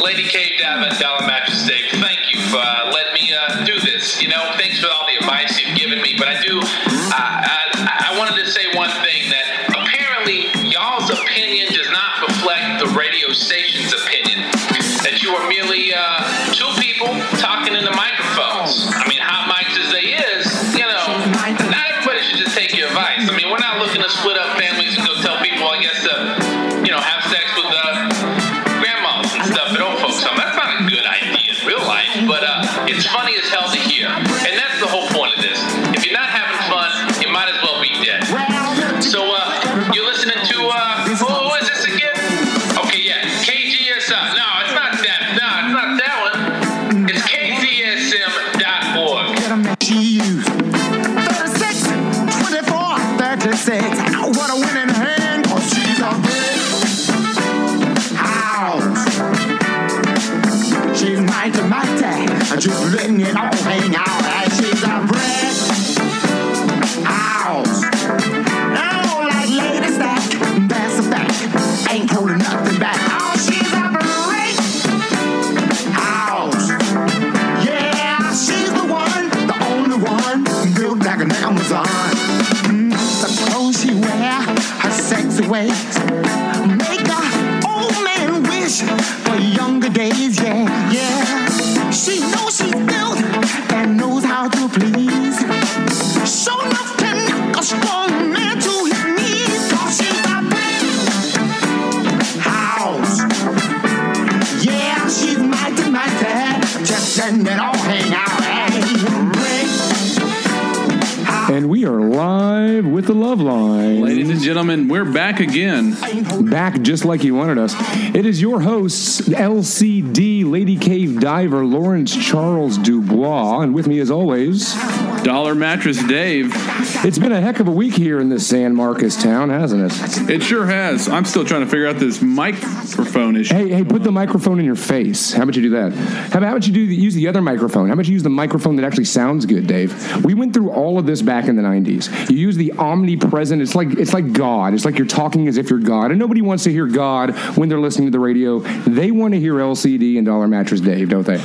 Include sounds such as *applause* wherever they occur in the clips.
Lady Cave Diamond Dollar Mattress Steak, thank you for uh, letting me uh, do this. You know, thanks for all the advice you've given me. But I do, uh, I, I wanted to say one thing that apparently y'all's opinion does not reflect the radio station's opinion. That you are merely uh, two people talking into microphones. I mean, hot mics as they is, you know, not everybody should just take your advice. I mean, we're not looking to split up families and go tell people, I guess, to, you know, have sex with uh, grandmas and stuff at old folks' home. That's not a good idea in real life, but uh, it's funny as hell to hear. And that's the whole point of this. If you're not having fun, you might as well be dead. So uh, you're listening to uh, who who is this again? Okay, yeah, KGSI. No, it's not that. No, it's not that one. It's KZSM.org. She used 36, 24, 36. What a winning hand, cause she's a big house. She's mighty, mighty, just letting it all hang out. And she's a brick house. I don't like ladies that, that's a fact. Ain't holding nothing back. Oh, she's a brick house. Yeah, she's the one, the only one, built like an Amazon. Mm, the clothes she wear, her sexy ways, make a old man wish for younger days. Yeah, yeah. She knows she's built and knows how to please. So nothing a strong man to his knees. 'Cause she's a brick house. Yeah, she's mighty, mighty. Just letting it all hang out. Hey, And we are live with the Love Line. Ladies and gentlemen, we're back again. back just like you wanted us. It is your hosts, LCD Lady Cave Diver Lawrence Charles Dubois, and with me as always, Dollar Mattress Dave. it's been a heck of a week here in this San Marcos town, hasn't it? It sure has. I'm still trying to figure out this microphone issue. Hey, hey, put the microphone in your face. How about you do that? How about how about you do the, use the other microphone? How about you use the microphone that actually sounds good, Dave? We went through all of this back in the '90s. You use the omnipresent. It's like it's like God. It's like you're talking as if you're God, and nobody wants to hear God when they're listening to the radio. They want to hear LCD and Dollar Mattress Dave, don't they?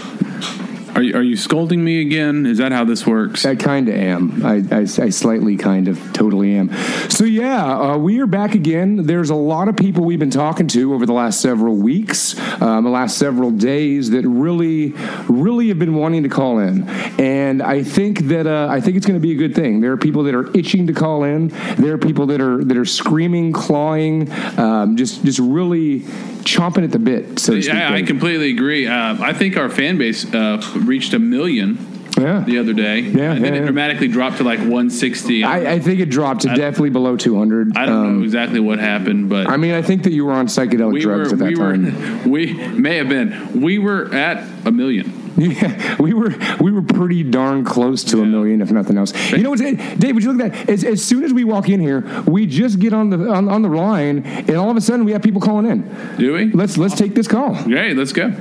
Are you, are you scolding me again? Is that how this works? I kind of am. I, I, I slightly kind of totally am. So, yeah, uh, we are back again. There's a lot of people we've been talking to over the last several weeks, um, the last several days that really, really have been wanting to call in. And I think that uh, I think it's going to be a good thing. There are people that are itching to call in. There are people that are that are screaming, clawing, um, just just really chomping at the bit. So to speak, Yeah, I Dave. completely agree. Uh, I think our fan base uh, reached a million Yeah. the other day. Yeah, and then yeah, it yeah. dramatically dropped to like 160. I, I, I think it dropped to I- definitely below 200. don't Um, know exactly what happened, but I mean, I think that you were on psychedelic we drugs were at that we time. *laughs* were *laughs* we may have been we were at a million. yeah, we were we were pretty darn close to a million, if nothing else. You know what's Dave? Would you look at that? As, as soon as we walk in here, we just get on the on, on the line, and all of a sudden we have people calling in. Do we? Let's let's take this call. Okay, let's go.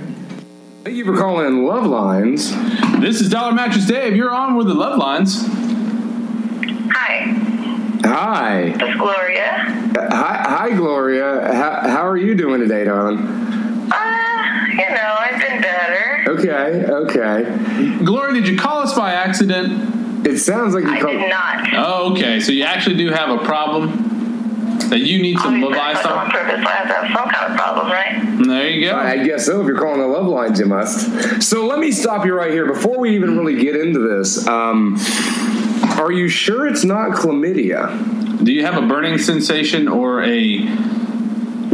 Thank you for calling in Love Lines. This is Dollar Mattress Dave. You're on with the Love Lines. Hi, Hi, it's Gloria. hi, hi, Gloria. How, how are you doing today, darling? Uh, you know, I've been better. Okay, okay. Gloria, did you call us by accident? It sounds like I did not. Oh, okay. So you actually do have a problem that you need some Obviously, if I advice go on on. purpose, I have to have some kind of problem, right? There you go. I guess so. If you're calling the love lines, you must. So let me stop you right here before we even really get into this. Um, are you sure it's not chlamydia? Do you have a burning sensation or a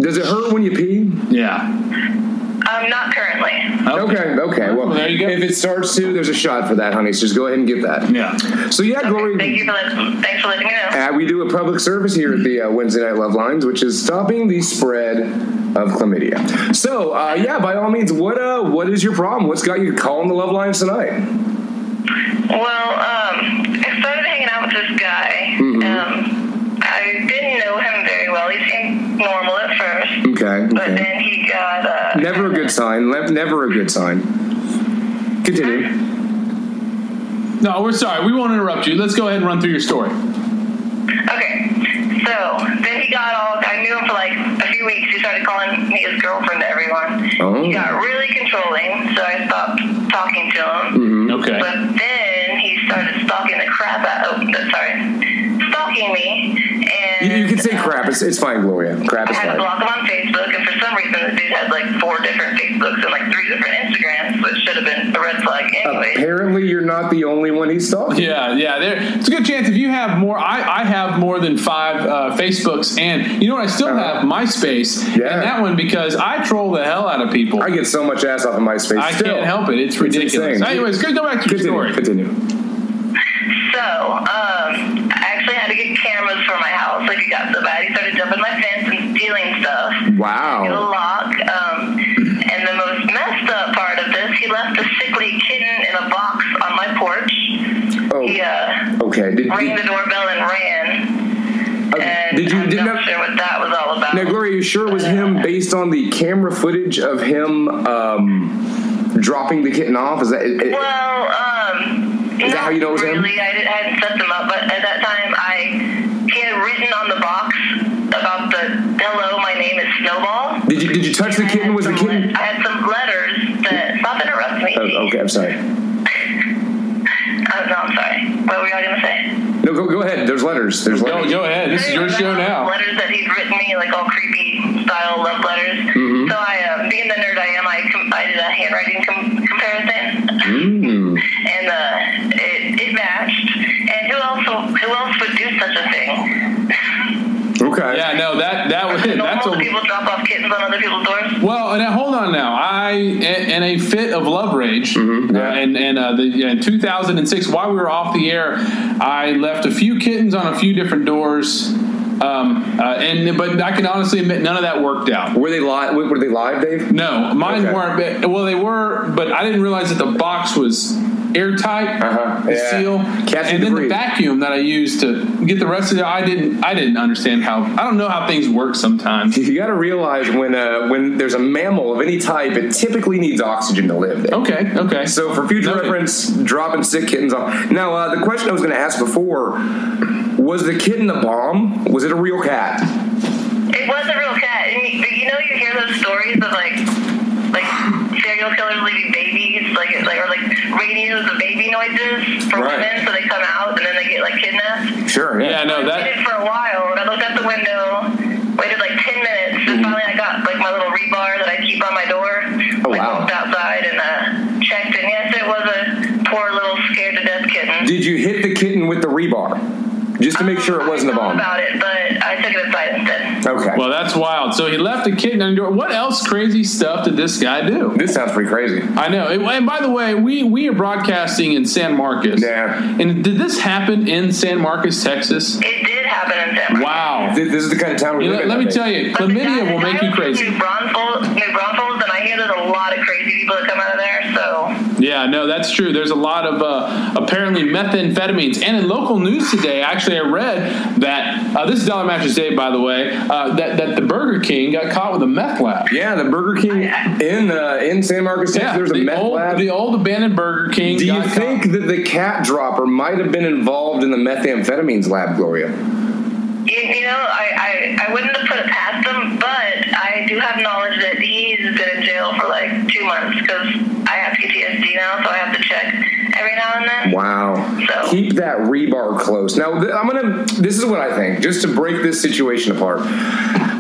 Does it hurt when you pee? yeah? Um, not currently. Okay, okay. Well, There you go. if it starts to, there's a shot for that, honey. So just go ahead and get that. Yeah. So yeah, Glory. Thank you for letting, thanks for letting me know. Uh, we do a public service here at the uh, Wednesday Night Love Lines, which is stopping the spread of chlamydia. So uh, yeah, by all means, what uh, what is your problem? What's got you calling the love lines tonight? Well, um, I started hanging out with this guy. Um, I didn't know him very well. He seemed normal at first, Okay. but okay. then he got, uh, Never a good sign. Le- Never a good sign. Continue. No, we're sorry. We won't interrupt you. Let's go ahead and run through your story. Mm-hmm. Okay. So then he got all. I knew him for like a few weeks. He started calling me his girlfriend to everyone, Oh. He got really controlling, so I stopped talking to him. Okay. But then he started stalking the crap out. Oh, no, sorry, stalking me. And You, you can say crap. It's, it's fine, Gloria. Crap I is had to fine. block him on Facebook, and for some reason, the dude had like four different Facebooks and like three different Instagrams, which should have been a red flag Oh, anyway. Apparently, you're not the only one he saw. Yeah, yeah. There, it's a good chance if you have more. I, I have more than five uh, Facebooks, and you know what? I still Uh-huh. have MySpace Yeah. and that one because I troll the hell out of people. I I, get so much ass off of MySpace. still. can't help it. It's ridiculous. insane. Anyways, go go back to your Continue. story. Continue. So, um, I actually had to get cameras for my house. Like, it got so bad. He started jumping my fence and stealing stuff. He had a Wow. lock. Um, and the most messed up part of this, he left a sickly kitten in a box on my porch. Oh. He uh, Okay. Did, rang the did, doorbell and ran. okay. And did you? I'm Did, not now, sure what that was all about. now, Gloria, you sure it was him based on the camera footage of him um, dropping the kitten off? Is that? It, it- Well, um, Is that how you know it was him? really. I, didn't, I hadn't set them up, but at that time, I he had written on the box about the hello, my name is Snowball. did you? Did you touch the I kitten? had Was the some kitten? le- I had some letters that stop interrupting me. Oh, okay. I'm sorry. Oh, no, I'm sorry. What were y'all gonna say? No, go, go ahead. There's letters. There's letters. No, go ahead. This is your Anyway, show I had some now. Letters that he'd written me, like all creepy style love letters. Mm-hmm. So I, uh, being the nerd I am, I, com- I did a handwriting com- comparison. Mm. *laughs* and uh, it, it matched. And who else? Who else would do such a thing? Okay. Yeah, no, that *laughs* that was *laughs* that's Normal a people drop off kittens on other people's doors. Well, now hold on now. I in a fit of love rage, Mhm, yeah. uh, and and uh, the, yeah, in 2006, while we were off the air, I left a few kittens on a few different doors. Um, uh, and but I can honestly admit none of that worked out. Were they live? Were they live, Dave? No, mine Okay. weren't. But, well, they were, but I didn't realize that the box was airtight, Uh-huh, the yeah. seal, Catching and then debris. the vacuum that I used to get the rest of it. I didn't. I didn't understand how. I don't know how things work *laughs* sometimes. You got to realize when uh, when there's a mammal of any type, it typically needs oxygen to live. There. Okay. Okay. So for future Noted. reference, dropping sick kittens off. Now uh, the question I was going to ask before was the kitten a bomb? Was it a real cat? It was a real cat. And you, you know, you hear those stories of like, like serial killers leaving babies, like, like or like radios of baby noises for Right. women, so they come out and then they get like kidnapped. Sure. yeah. No. I That. waited for a while, and I looked out the window, waited like ten minutes, Mm-hmm. and finally I got like my little rebar that I keep on my door. Oh, like, wow. Walked outside and uh, checked, and yes, it was a poor little scared to death kitten. Did you hit the kitten with the rebar just to make sure it Um, wasn't I a thought bomb? About it, but I took it aside instead. Okay. Well, that's wild. So he left a kitten under. What else crazy stuff did this guy do? this sounds pretty crazy. I know. And- And by the way, we we are broadcasting in San Marcos. Yeah. And did this happen in San Marcos, Texas? It did happen in San Marcos. Wow. This, this is the kind of town we You know, live in. I let me think. tell you, But the guy- chlamydia will the make guy you was from crazy. New Braunfels, New Braunfels, and I hear there's a lot of crazy people that come out of there. So Yeah, no, that's true. There's a lot of uh, apparently methamphetamines. And in local news today, actually, I read that uh, this is Dollar Matches Day, by the way, uh, that, that the Burger King got caught with a meth lab. Yeah, the Burger King in uh, in San Marcos, Texas. there's a the meth old, lab. The old abandoned Burger King. Do you got caught. think that the cat dropper might have been involved in the methamphetamines lab, Gloria? you, you know, I, I I wouldn't have put it past him, but I do have knowledge that he's been in jail for like two months because I have PTSD now, so I have to check every now and then. Wow. So- Keep that rebar close. Now, th- I'm gonna. This is what I think. Just to break this situation apart,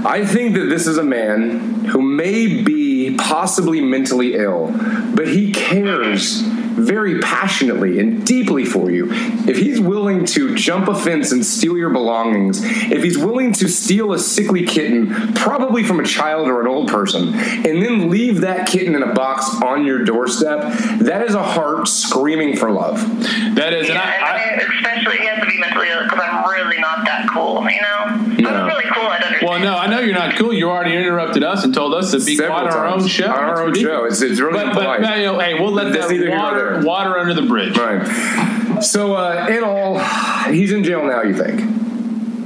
I think that this is a man who may be possibly mentally ill, but he cares very passionately and deeply for you. If he's willing to jump a fence and steal your belongings, if he's willing to steal a sickly kitten, probably from a child or an old person, and then leave that kitten in a box on your doorstep, that is a heart screaming for love. That is, and Yeah, and I, I, I, especially he has to be mentally ill because I'm really not that cool, you know. If I No. was really cool, I'd understand. well, no, I know you're not cool. You already interrupted us and told us to be Several quiet on our times. own show. On our That's own ridiculous. show. It's- it's really but, but impolite. you know, hey, we'll let That's that neither here nor water, there. water under the bridge. Right. So, uh, in all, he's in jail now, you think?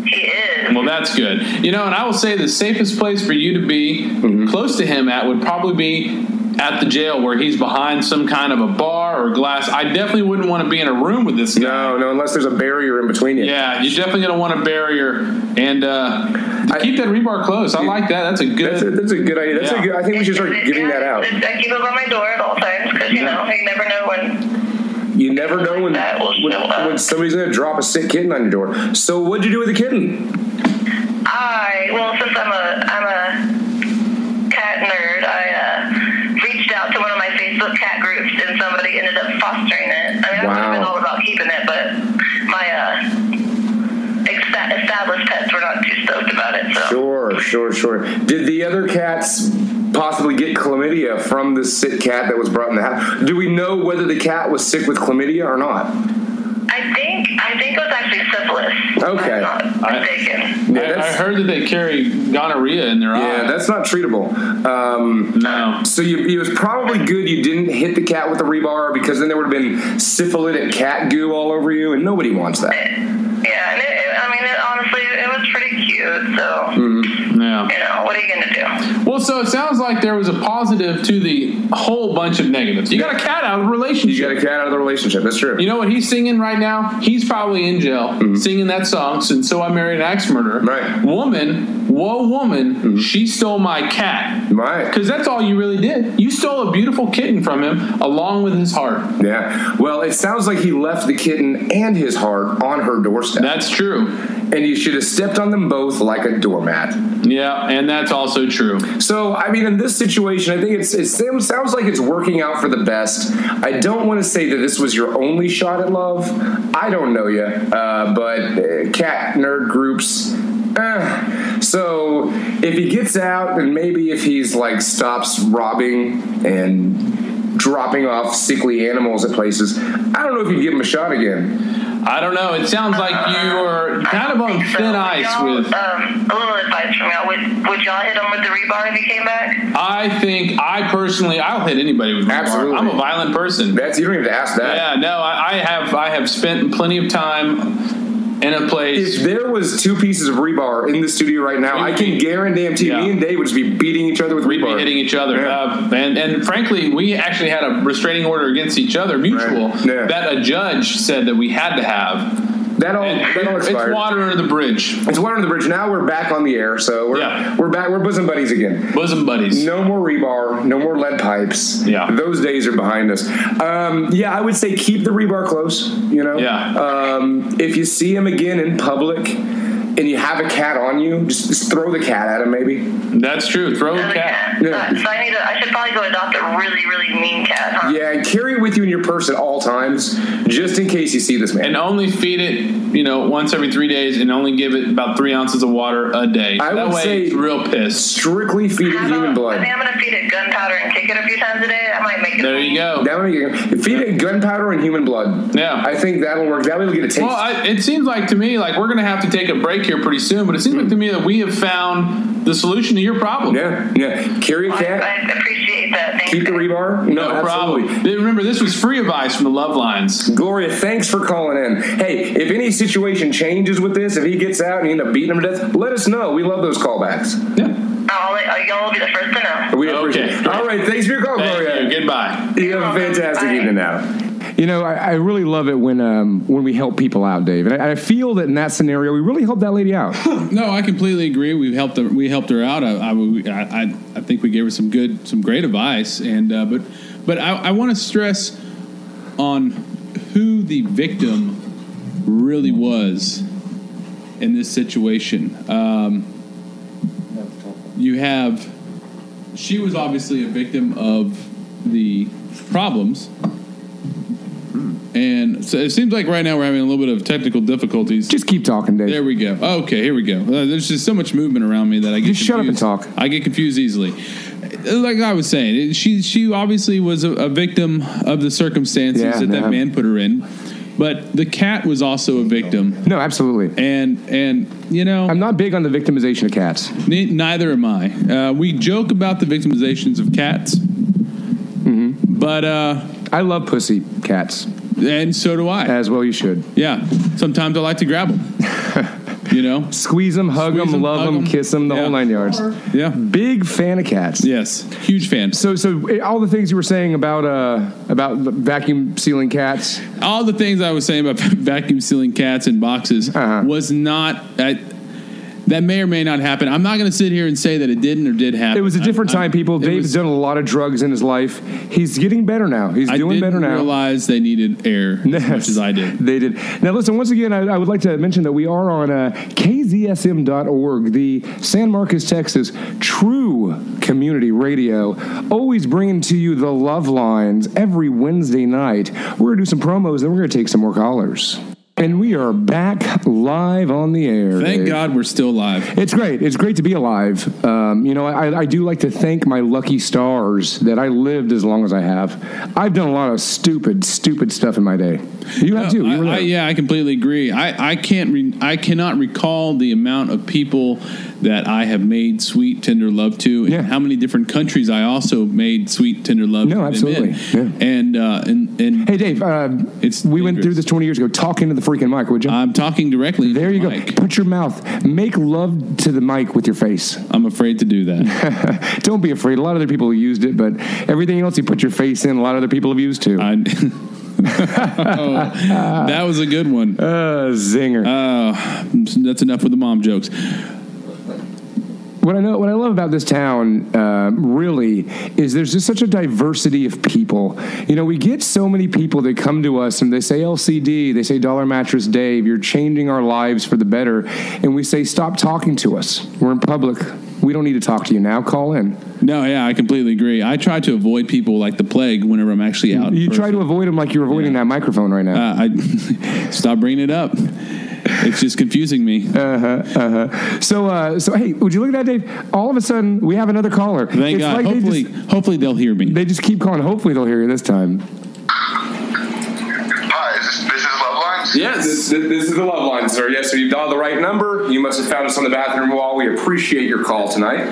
he is. Well, that's good. Mm-hmm. You know, and I will say the safest place for you to be close to him at would probably be at the jail where he's behind some kind of a bar or glass. I definitely wouldn't want to be in a room with this guy. No, no, unless there's a barrier in between you. Yeah, you're definitely going to want a barrier and uh, I- keep that rebar close. I like that. That's a good. That's a, that's a good idea. That's Yeah. a good, I think we should start giving that out. I keep it by my door at all times because you know you never know when. You never know when, That will when, show up. when somebody's going to drop a sick kitten on your door. So what'd you do with the kitten? I well, since I'm a I'm a cat nerd, I uh, reached out to one of my Facebook cat groups and somebody ended up fostering it. I mean, I would have been Wow. all about keeping it, but my uh, esta- established pets were not too stoked about it. So Sure, sure, sure. Did the other cats possibly get chlamydia from the sick cat that was brought in the house? Do we know whether the cat was sick with chlamydia or not? I think I think it was actually syphilis. if Okay. I'm not I- mistaken. Yeah, I, I that's- heard that they carry gonorrhea in their Yeah, eye. that's not treatable. Um, no. So you, it was probably good you didn't hit the cat with the rebar because then there would have been syphilitic cat goo all over you, and nobody wants that. Yeah, and it, it, I mean, it, honestly, it was pretty cute. So Hmm. Yeah. you know, what are you gonna do? Well, so it sounds like there was a positive to the whole bunch of negatives. You got a cat out of a relationship. You got a cat out of the relationship. That's true. You know what he's singing right now? He's probably in jail singing that song since So I Married an Axe Murderer. Mm-hmm. Right. Mm-hmm. Woman, whoa, woman, she stole my cat. right. Because that's all you really did. You stole a beautiful kitten from him along with his heart. Yeah. Well, it sounds like he left the kitten and his heart on her doorstep, That's true. and you should have stepped on them both like a doormat. Yeah, and that's also true. So, I mean, in this situation, I think it's it sam- sounds like it's working out for the best. I don't want to say that this was your only shot at love. I don't know you, uh, but uh, cat nerd groups. eh. So, if he gets out, and maybe if he's like stops robbing and dropping off sickly animals at places, I don't know if you give him a shot again. I don't know. It sounds like you are kind of I on think so. thin Would ice y'all, with. Um, a little advice from y'all. Would, would y'all hit him with the rebar if he came back? I think I personally, I'll hit anybody with my bar. Absolutely. I'm a violent person. That's you don't even have to ask that. Yeah, no, I, I have. I have spent plenty of time in a place. If there was two pieces of rebar in the studio right now, I can guarantee Yeah. me and Dave would just be beating each other with We'd be rebar. hitting each other, Yeah. uh, and and frankly, we actually had a restraining order against each other, mutual, Right. Yeah. that a judge said that we had to have. that all And that all it's expired. water under the bridge, It's water on the bridge. Now we're back on the air, so we're Yeah. we're back. We're bosom buddies again. bosom buddies. No more rebar. No more lead pipes. Yeah. those days are behind us. Um, yeah, I would say keep the rebar close. You know. Yeah. Um, if you see him again in public. And you have a cat on you, just, just throw the cat at him, maybe. That's true. Throw a Another cat. cat. Yeah. Uh, so I need. To, I should probably go adopt a really, really mean cat. Huh? Yeah, and carry it with you in your purse at all times, just in case you see this man. and only feed it, you know, once every three days, and only give it about three ounces of water a day. I that would way, say- it's real pissed. strictly feed it How human about- I blood. think I'm gonna feed it gunpowder and kick it a few times a day. That might make it. There you go. That would make feed it gunpowder and human blood. Yeah. I think that'll work. That way will get a taste. Well, I, it seems like to me like we're going to have to take a break here pretty soon, but it seems like to me that we have found the solution to your problem. yeah, yeah. Carry a I, cat. I appreciate that. Thank Keep the you. rebar. No absolutely. problem. Then Remember, this was free advice from the Love Lines. Gloria, thanks for calling in. Hey, if any situation changes with this, if he gets out and you end up beating him to death, let us know. We love those callbacks. Yeah. I'll let- uh, y'all will be the first to know. We Okay, appreciate it. great. All right, thanks for your call, Thank you. Gloria. Goodbye. You have a fantastic Bye. evening now. You know, I, I really love it when um, when we help people out, Dave. And I, I feel that in that scenario, we really helped that lady *laughs* out. No, I completely agree. We've helped her. We helped her out. I, I, would- I, I- I think we gave her some good, some great advice. And uh, but, but I, I want to stress on who the victim really was in this situation. Um, you have she was obviously a victim of the problems. And so it seems like right now we're having a little bit of technical difficulties. Just keep talking, Dave. There we go. Okay, here we go. Uh, there's just so much movement around me that I get Just shut up and confused. talk. I get confused easily. Uh, Like I was saying, it- she she obviously was a, a victim of the circumstances Yeah, that man. that man put her in, but the cat was also a victim, No, absolutely. and and you know I'm not big on the victimization of cats. ne- neither am I. Uh, we joke about the victimizations of cats, Mm-hmm. but uh, I love pussy cats, and so do I. as well you should. *laughs* Yeah, sometimes I like to grab them. You know? Squeeze them, hug Squeeze them, 'em, love hug them, 'em. kiss them, the Yeah. whole nine yards. Yeah. Big fan of cats. Yes. Huge fan. So, so eh, all the things you were saying about uh, about the vacuum sealing cats. all the things I was saying about *laughs* vacuum sealing cats and boxes Uh-huh. was not I, that may or may not happen. I'm not going to sit here and say that it didn't or did happen. It was a different I- I- time, people. it Dave's was- done a lot of drugs in his life. He's getting better now. He's I doing didn't better now. realize they needed air *laughs* as much as I did. They did. Now, listen, once again, I, I would like to mention that we are on uh, kzsm.org, the San Marcos, Texas true community radio, always bringing to you the love lines every Wednesday night. We're going to do some promos, then we're going to take some more callers. And we are back live on the air. Thank Dave. God we're still alive. It's great. It's great to be alive. Um, you know, I, I do like to thank my lucky stars that I lived as long as I have. I've done a lot of stupid, stupid stuff in my day. You have too. I- You were I- uh, there. yeah, I completely agree. I, I can't re- I cannot recall the amount of people that I have made sweet tender love to, and Yeah. how many different countries I also made sweet tender love. No, to them absolutely. in. and uh, and and Hey, Dave. Uh, It's we went through dangerous. this 20 years ago. Talk into the freaking mic, would you? I'm talking directly. there to you Mike. go. Put your mouth. Make love to the mic with your face. I'm afraid to do that. *laughs* Don't be afraid. A lot of other people used it, but everything else you put your face in, a lot of other people have used too. I, *laughs* Oh, that was a good one. uh, zinger. Uh, that's enough with the mom jokes. what I know, what I love about this town, uh, really, is there's just such a diversity of people. You know, we get so many people that come to us and they say LCD, they say Dollar Mattress Dave, you're changing our lives for the better, and we say stop talking to us. We're in public. We don't need to talk to you now. Call in. No, yeah, I completely agree. I try to avoid people like the plague whenever I'm actually out. in You person. try to avoid them like you're avoiding that microphone right now. Uh, I *laughs* stop bringing it up. It's just confusing me. Uh, so, uh, so hey, would you look at that, Dave? All of a sudden, we have another caller. Thank it's God. like hopefully, they just, hopefully they'll hear me. they just keep calling. Hopefully, they'll hear you this time. Hi, is this, this is Love Lines? Yes. This, this is the love line, sir. Yes, sir. You've dialed the right number. You must have found us on the bathroom wall. We appreciate your call tonight.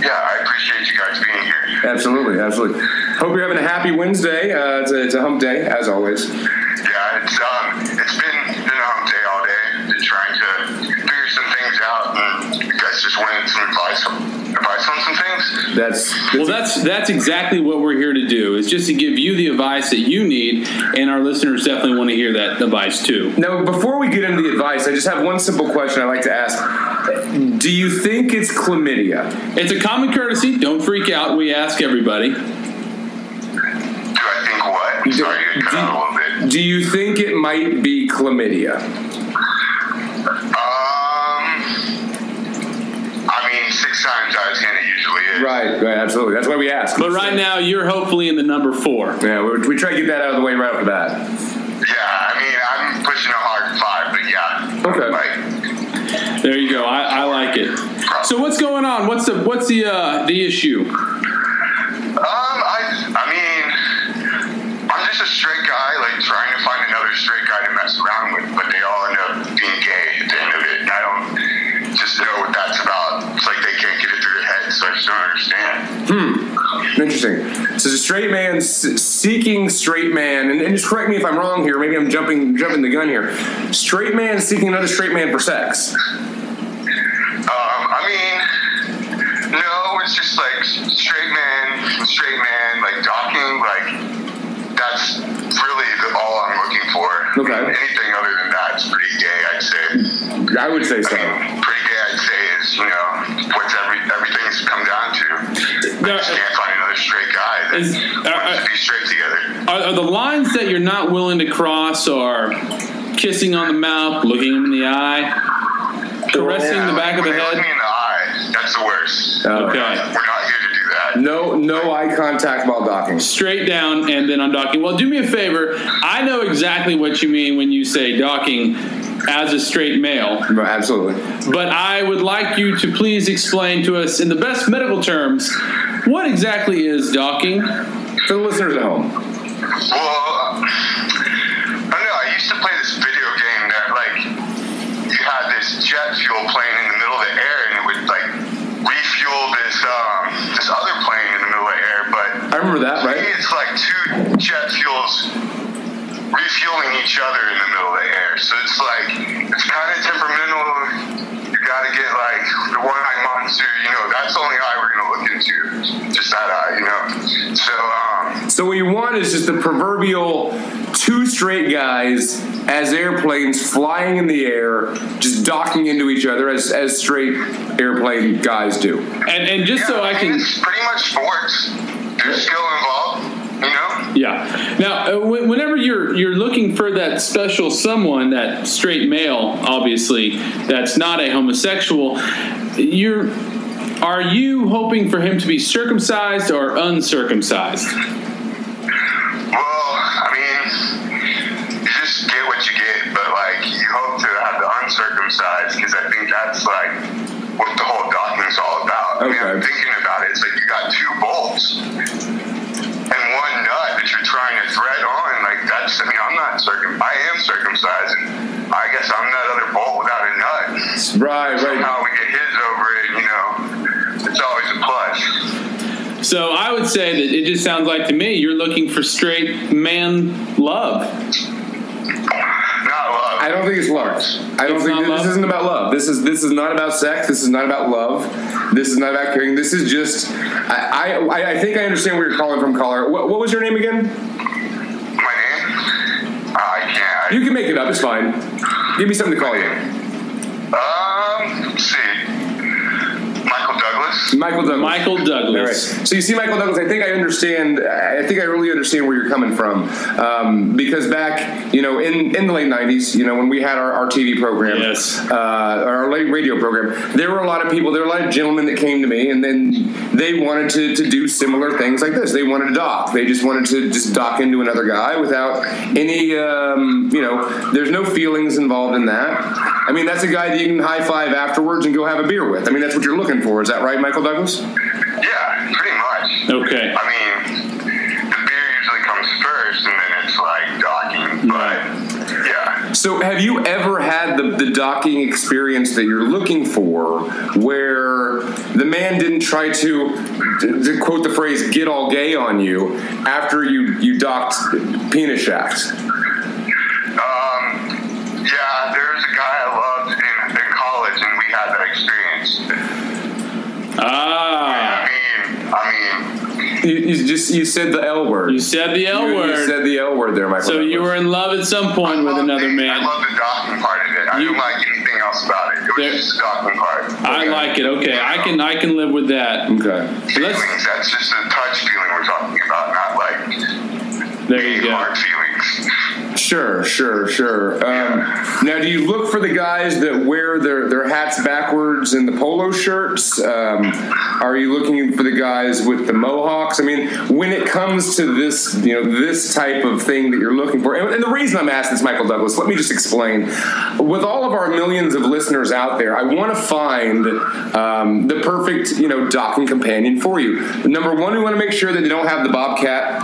Yeah, I appreciate you guys being here. Absolutely. Absolutely. Hope you're having a happy Wednesday. Uh, it's, a, it's a hump day, as always. Yeah, it's um, it's been been a hump day all day, been trying to figure some things out, and you guys just wanted some advice, advice on some things. That's, Well, that's that's exactly what we're here to do. Is just to give you the advice that you need, and our listeners definitely want to hear that advice too. Now, before we get into the advice, I just have one simple question I'd like to ask. Do you think it's chlamydia? It's a common courtesy. Don't freak out. We ask everybody. Do I think what? Sorry, you cut out a little bit. Do you think it might be chlamydia? Um, I mean, six times out of ten, it usually is. Right, right, absolutely. That's why we ask. But right now, you're hopefully in the number four. Yeah, we, we try to get that out of the way right off the bat. Yeah, I mean, I'm pushing a hard five, but yeah. Okay. Like, There you go. I, I like it. So what's going on? What's the what's the uh, the issue? um, I, I mean, I'm just a straight guy, like trying to find another straight guy to mess around with, but they all end up being gay at the end of it. And I don't just know what that's about. It's like they can't get it through their heads, so I just don't understand. Interesting. So it's a straight man s- seeking straight man, and, and just correct me if I'm wrong here. Maybe I'm jumping jumping the gun here. Straight man seeking another straight man for sex. Um, I mean, no, it's just like straight man, straight man, like docking, like that's really the, all I'm looking for. Okay. Anything other than that is pretty gay, I'd say. I would say so. I mean, pretty gay, I'd say, is you know what's every everything's come down to. I just can't find another straight guy that Is- uh, wants uh, to be straight together. Are, are the lines that you're not willing to cross are kissing on the mouth, looking him in the eye, caressing the back of the When they look head? me in the eye. That's the worst. Okay. We're not here to do that. No, no eye contact while docking. Straight down and then undocking. Well, do me a favor. I know exactly what you mean when you say docking as a straight male, Right, Absolutely. but I would like you to please explain to us in the best medical terms what exactly is docking? For the listeners at home. Well, I don't know. I used to play this video game that, like, you had this jet fuel plane in the middle of the air, and it would like refuel this um, this other plane in the middle of the air. But I remember that, to me, right? it's like two jet fuels refueling each other in the middle of the air. So it's like it's kind of temperamental. You got to get like the one eye monster. You know, that's the only eye we're gonna look into. Just that eye. You know. So um, So what you want is just the proverbial two straight guys as airplanes flying in the air, just docking into each other as, as straight airplane guys do. And and just so I mean, can It's pretty much sports. There's skill involved. You know. Yeah. Now, uh, wh- whenever you're you're looking for that special someone, that straight male, obviously, that's not a homosexual, you're are you hoping for him to be circumcised or uncircumcised? Well, I mean, you just get what you get, but like you hope to have the uncircumcised because I think that's like what the whole docking's all about. I mean, I'm Okay. thinking about it. It's like you got two bolts and one nut that you're trying to thread on. Like that's. I mean, I'm not circum. I am circumcised, and I guess I'm that other bolt without a nut. Right, right. Somehow we get his over it. You know, it's always a plus. So I would say that it just sounds like to me you're looking for straight man love. Not love. I don't think it's love. I don't It's think not this, love? isn't about love. This is this is not about sex. This is not about love. This is not about caring. This is just. I I- I, I think I understand where you're calling from, caller. What, what was your name again? My name? I can't. You can make it up. It's fine. Give me something to call you. Um, let's see. Michael Douglas. Michael Douglas. Michael All right. Douglas. So you see, Michael Douglas. I think I understand. I think I really understand where you're coming from, um, because back, you know, in, in the late '90s, you know, when we had our, our TV program, Yes. uh, our late radio program, there were a lot of people. There were a lot of gentlemen that came to me, and then they wanted to, to do similar things like this. They wanted to dock. They just wanted to just dock into another guy without any, um, you know, there's no feelings involved in that. I mean, that's a guy that you can high five afterwards and go have a beer with. I mean, that's what you're looking for. Is that right, Michael Douglas? Yeah, pretty much. Okay. I mean, the beer usually comes first, and then it's like Mm-hmm. docking. But yeah, So, have you ever had the, the docking experience that you're looking for where the man didn't try to, to quote the phrase, get all gay on you after you, you docked penis shafts? um, yeah. There was a guy I loved in, in college, and we had that experience. I Ah, mean, I mean, You, you just you said the L word. you said the L You- you word. said the L word there, Michael. So you were in love at some I point with loved another it. I man. love the docking part of it. I You- didn't like anything else about it. It was There- just the docking part. I like it. Okay, I can I can live with that. Okay. Let's- feelings. That's just the touch feeling we're talking about, not like There you big go. hard feelings. Sure, sure, sure. Um, now, do you look for the guys that wear their, their hats backwards and the polo shirts? Um, are you looking for the guys with the mohawks? I mean, when it comes to this, you know, this type of thing that you're looking for, and, and the reason I'm asking this, Michael Douglas, let me just explain. With all of our millions of listeners out there, I want to find um, the perfect, you know, docking companion for you. Number one, we want to make sure that they don't have the bobcat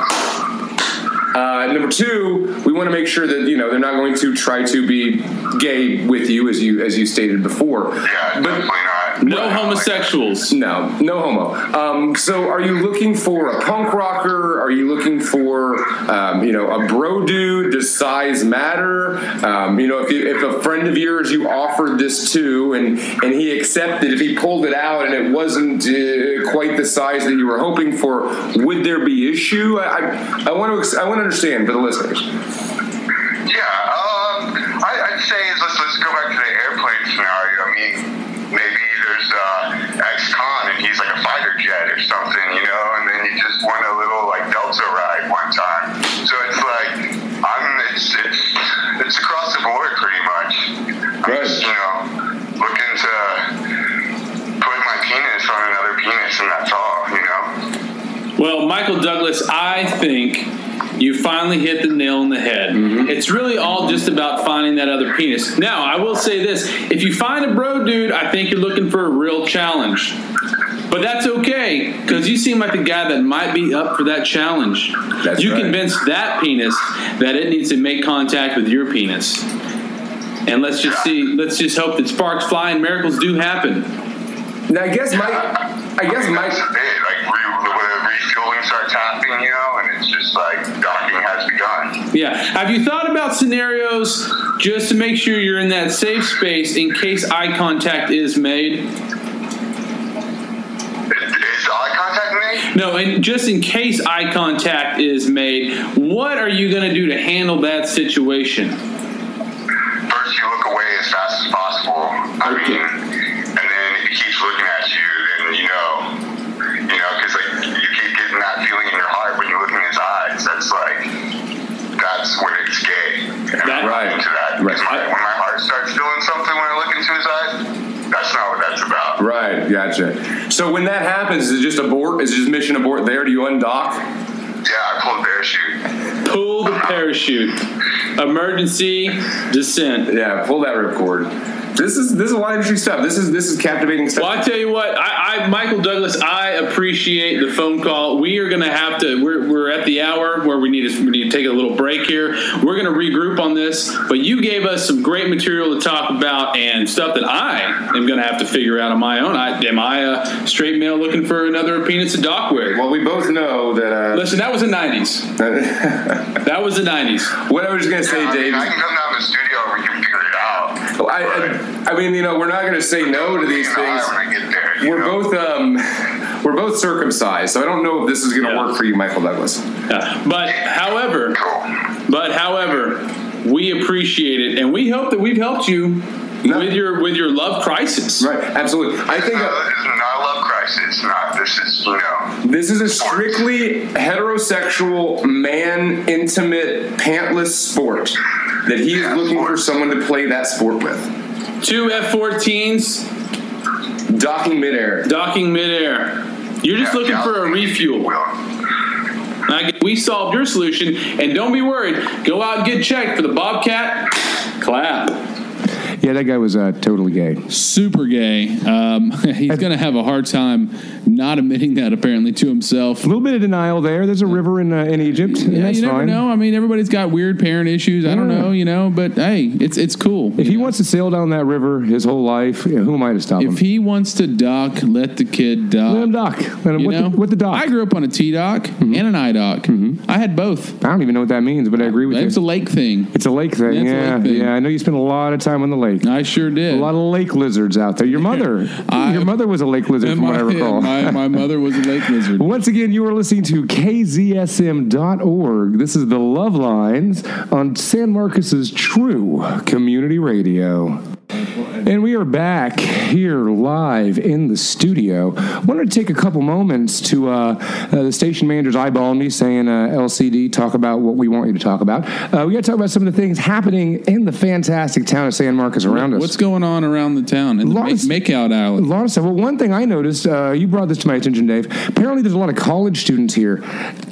uh, number two, we want to make sure that you know they're not going to try to be gay with you, as you as you stated before. Yeah, but definitely not. No Right. homosexuals. no, no homo. Um, so, are you looking for a punk rocker? Are you looking for um, you know a bro dude? Does size matter? Um, you know, if, you, if a friend of yours you offered this to and and he accepted, if he pulled it out and it wasn't uh, quite the size that you were hoping for, would there be issue? I I, I want to ex- I want to understand for the listeners. Yeah, um, I, I'd say is let's let's go back to the airplane scenario. I mean, maybe there's uh, ex-con and he's like a fighter jet or something, you know, and then you just won a little like Delta ride one time. So it's like I'm it's it's it's across the board pretty much. I'm Right. just, you know, looking to put my penis on another penis, and that's all, you know. Well, Michael Douglas, I think you finally hit the nail on the head. Mm-hmm. It's really all just about finding that other penis. Now, I will say this if you find a bro dude, I think you're looking for a real challenge. But that's okay, because you seem like the guy that might be up for that challenge. That's you right. convinced that penis that it needs to make contact with your penis. And let's just see, let's just hope that sparks fly and miracles do happen. Now, I guess Mike. I guess Mike. That's it. Like re- when the refueling starts happening, you know, and it's just like docking has begun. Yeah, Yeah. Have you thought about scenarios just to make sure you're in that safe space in case eye contact is made? Is, is eye contact me? No, and just in case eye contact is made, what are you going to do to handle that situation? First, you look away as fast as possible. I Okay. mean, and then if he keeps looking at you, then you know, you know, because like you keep getting that feeling in your heart when you look in his eyes. That's like, that's when it's gay. And That- I'm right. into that. 'Cause Right. My, when my heart starts feeling something when I look into his eyes, that's not what that's about. Right, gotcha. So when that happens, is it just abort? Is it just mission abort there? Do you undock? Yeah, I pulled parachute. Pull the parachute. Emergency descent. Yeah, pull that ripcord. This is this is a lot of interesting stuff. This is this is captivating stuff. Well, I tell you what, I, I Michael Douglas, I appreciate the phone call. We are going to have to. We're, we're at the hour where we need to we need to take a little break here. We're going to regroup on this, but you gave us some great material to talk about and stuff that I am going to have to figure out on my own. I, am I a straight male looking for another penis to dock with? Well, we both know that. Listen, that was the '90s. Uh, That was the '90s. *laughs* what I was gonna say, Yeah, I mean, Dave. I can come down to the studio and we can figure it out. I, I, I mean, you know, we're not gonna say no to Look me these in the eye things. When I get there, you We're know? both um, we're both circumcised, so I don't know if this is gonna Yeah. work for you, Michael Douglas. Yeah. But however, Cool. But however, we appreciate it, and we hope that we've helped you No. with your with your love crisis. Right, absolutely. I think. uh, No, this is not a love crisis. It's not. This is you know. This is a strictly heterosexual, man, intimate, pantless sport that he is Yeah, looking for sport. someone to play that sport with. Two F-14s Docking midair. docking midair. You're just yeah, looking for a Calvin, if you refuel. will. I g- we solved your solution, and don't be worried. Go out and get checked for the Bobcat. Clap. Yeah, that guy was uh, totally gay. super gay. Um, *laughs* he's going to have a hard time not admitting that apparently to himself. A little bit of denial there. There's a river in uh, in Egypt. and Yeah, that's you never fine. know. I mean, everybody's got weird parent issues. I don't Yeah. know, you know, but hey, it's it's cool. If he wants to sail down that river his whole life, you know, who am I to stop him? If he wants to dock, let the kid dock. Let him dock. Let him, you what, know? the, what the dock? Mm-hmm. I grew up on a T dock and an I dock. I had both. I don't even know what that means, but I agree with That's you. a lake thing. it's a lake thing. That's a yeah, lake thing. yeah. I know you spend a lot of time on the lake. I sure did. A lot of lake lizards out *laughs* there. Your mother, I- your mother was a lake *laughs* lizard, And from what I my, recall. my, my mother was a lake *laughs* lizard. Once again, you are listening to KZSM.org. This is the Love Lines on San Marcos's True Community Radio. And we are back here live in the studio. Wanted to take a couple moments to uh, uh, the station managers eyeballing me saying, uh, LCD, talk about what we want you to talk about. Uh, we got to talk about some of the things happening in the fantastic town of San Marcos around us. What's going on around the town and the Lots- make, makeout A island? lot of stuff. Well, one thing I noticed, uh, you brought this to my attention, Dave. Apparently, there's a lot of college students here,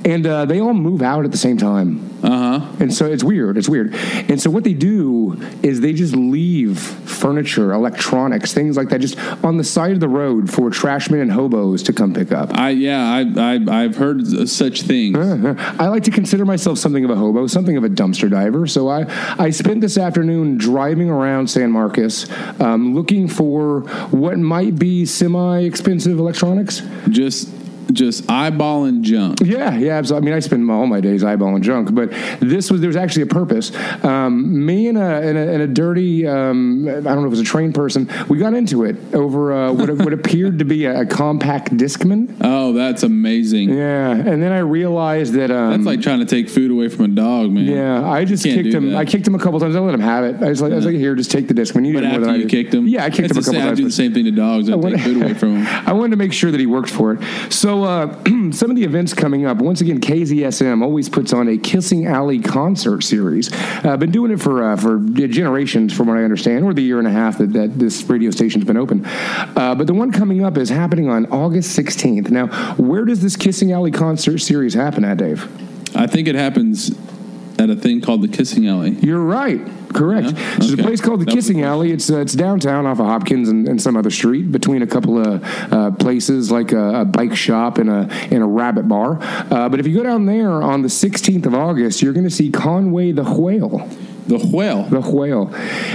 and uh, they all move out at the same time. Uh huh. And so it's weird. It's weird. And so what they do is they just leave furniture, electronics, things like that, just on the side of the road for trashmen and hobos to come pick up. I yeah. I, I I've heard such things. I like to consider myself something of a hobo, something of a dumpster diver. So I, I spent this afternoon driving around San Marcos um, looking for what might be semi expensive electronics. just just eyeballing junk. Yeah, yeah, absolutely. I mean, I spend my- all my days eyeballing junk, but this was there was actually a purpose. Um, me and a, and a and a dirty um, I don't know if it was a train person. We got into it over uh, what, *laughs* what appeared to be a, a compact discman. Oh, that's amazing. Yeah, and then I realized that um, That's like trying to take food away from a dog, man. yeah, I just Can't kicked do him. that. I kicked him a couple times. I let him have it. I was like, I was like, here, just take the discman. You But did more after than I you did. kicked him, yeah, I it's kicked him a the same- couple I times. do the same thing to dogs. I, *laughs* wanna- take food away from them. I wanted to make sure that he worked for it. So, uh, *clears throat* some of the events coming up. Once again, KZSM always puts on a Kissing Alley concert series. uh, been doing it for uh, for generations, from what I understand, or the year and a half that, that this radio station's been open. Uh, but the one coming up is happening on August 16th. Now, where does this Kissing Alley concert series happen at, Dave? I think it happens at a thing called the Kissing Alley. You're right. Yeah? Correct. So there's a Okay. place called the That was Kissing the Alley. It's uh, it's downtown off of Hopkins and, and some other street between a couple of uh, places like a, a bike shop and a and a rabbit bar. Uh, but if you go down there on the 16th of August, you're going to see Conway the Whale. The whale. The whale.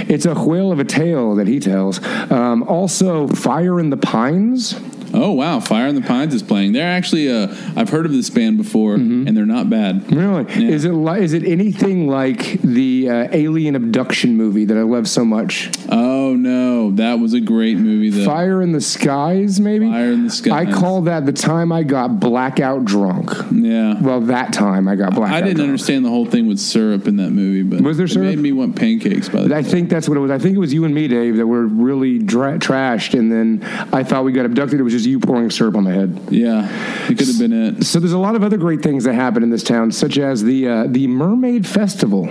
It's a whale of a tale that he tells. Um, also, Fire in the Pines. Oh wow, Fire in the Pines is playing. They're actually uh, I've heard of this band before, Mm-hmm. and they're not bad. Really? Yeah. Is it li- is it anything like the uh, alien abduction movie that I love so much? Oh no, that was a great movie though. Fire in the Skies, maybe. Fire in the Skies. I call that the time I got blackout drunk. yeah. Well, that time I got blackout. I didn't drunk. understand the whole thing with syrup in that movie, but Was there it syrup? made me want pancakes by the I way. think that's what it was. I think it was you and me, Dave, that were really dra- trashed, and then I thought we got abducted. It was just you pouring syrup on my head. Yeah. It could have been it. So there's a lot of other great things that happen in this town, such as the uh, the Mermaid Festival.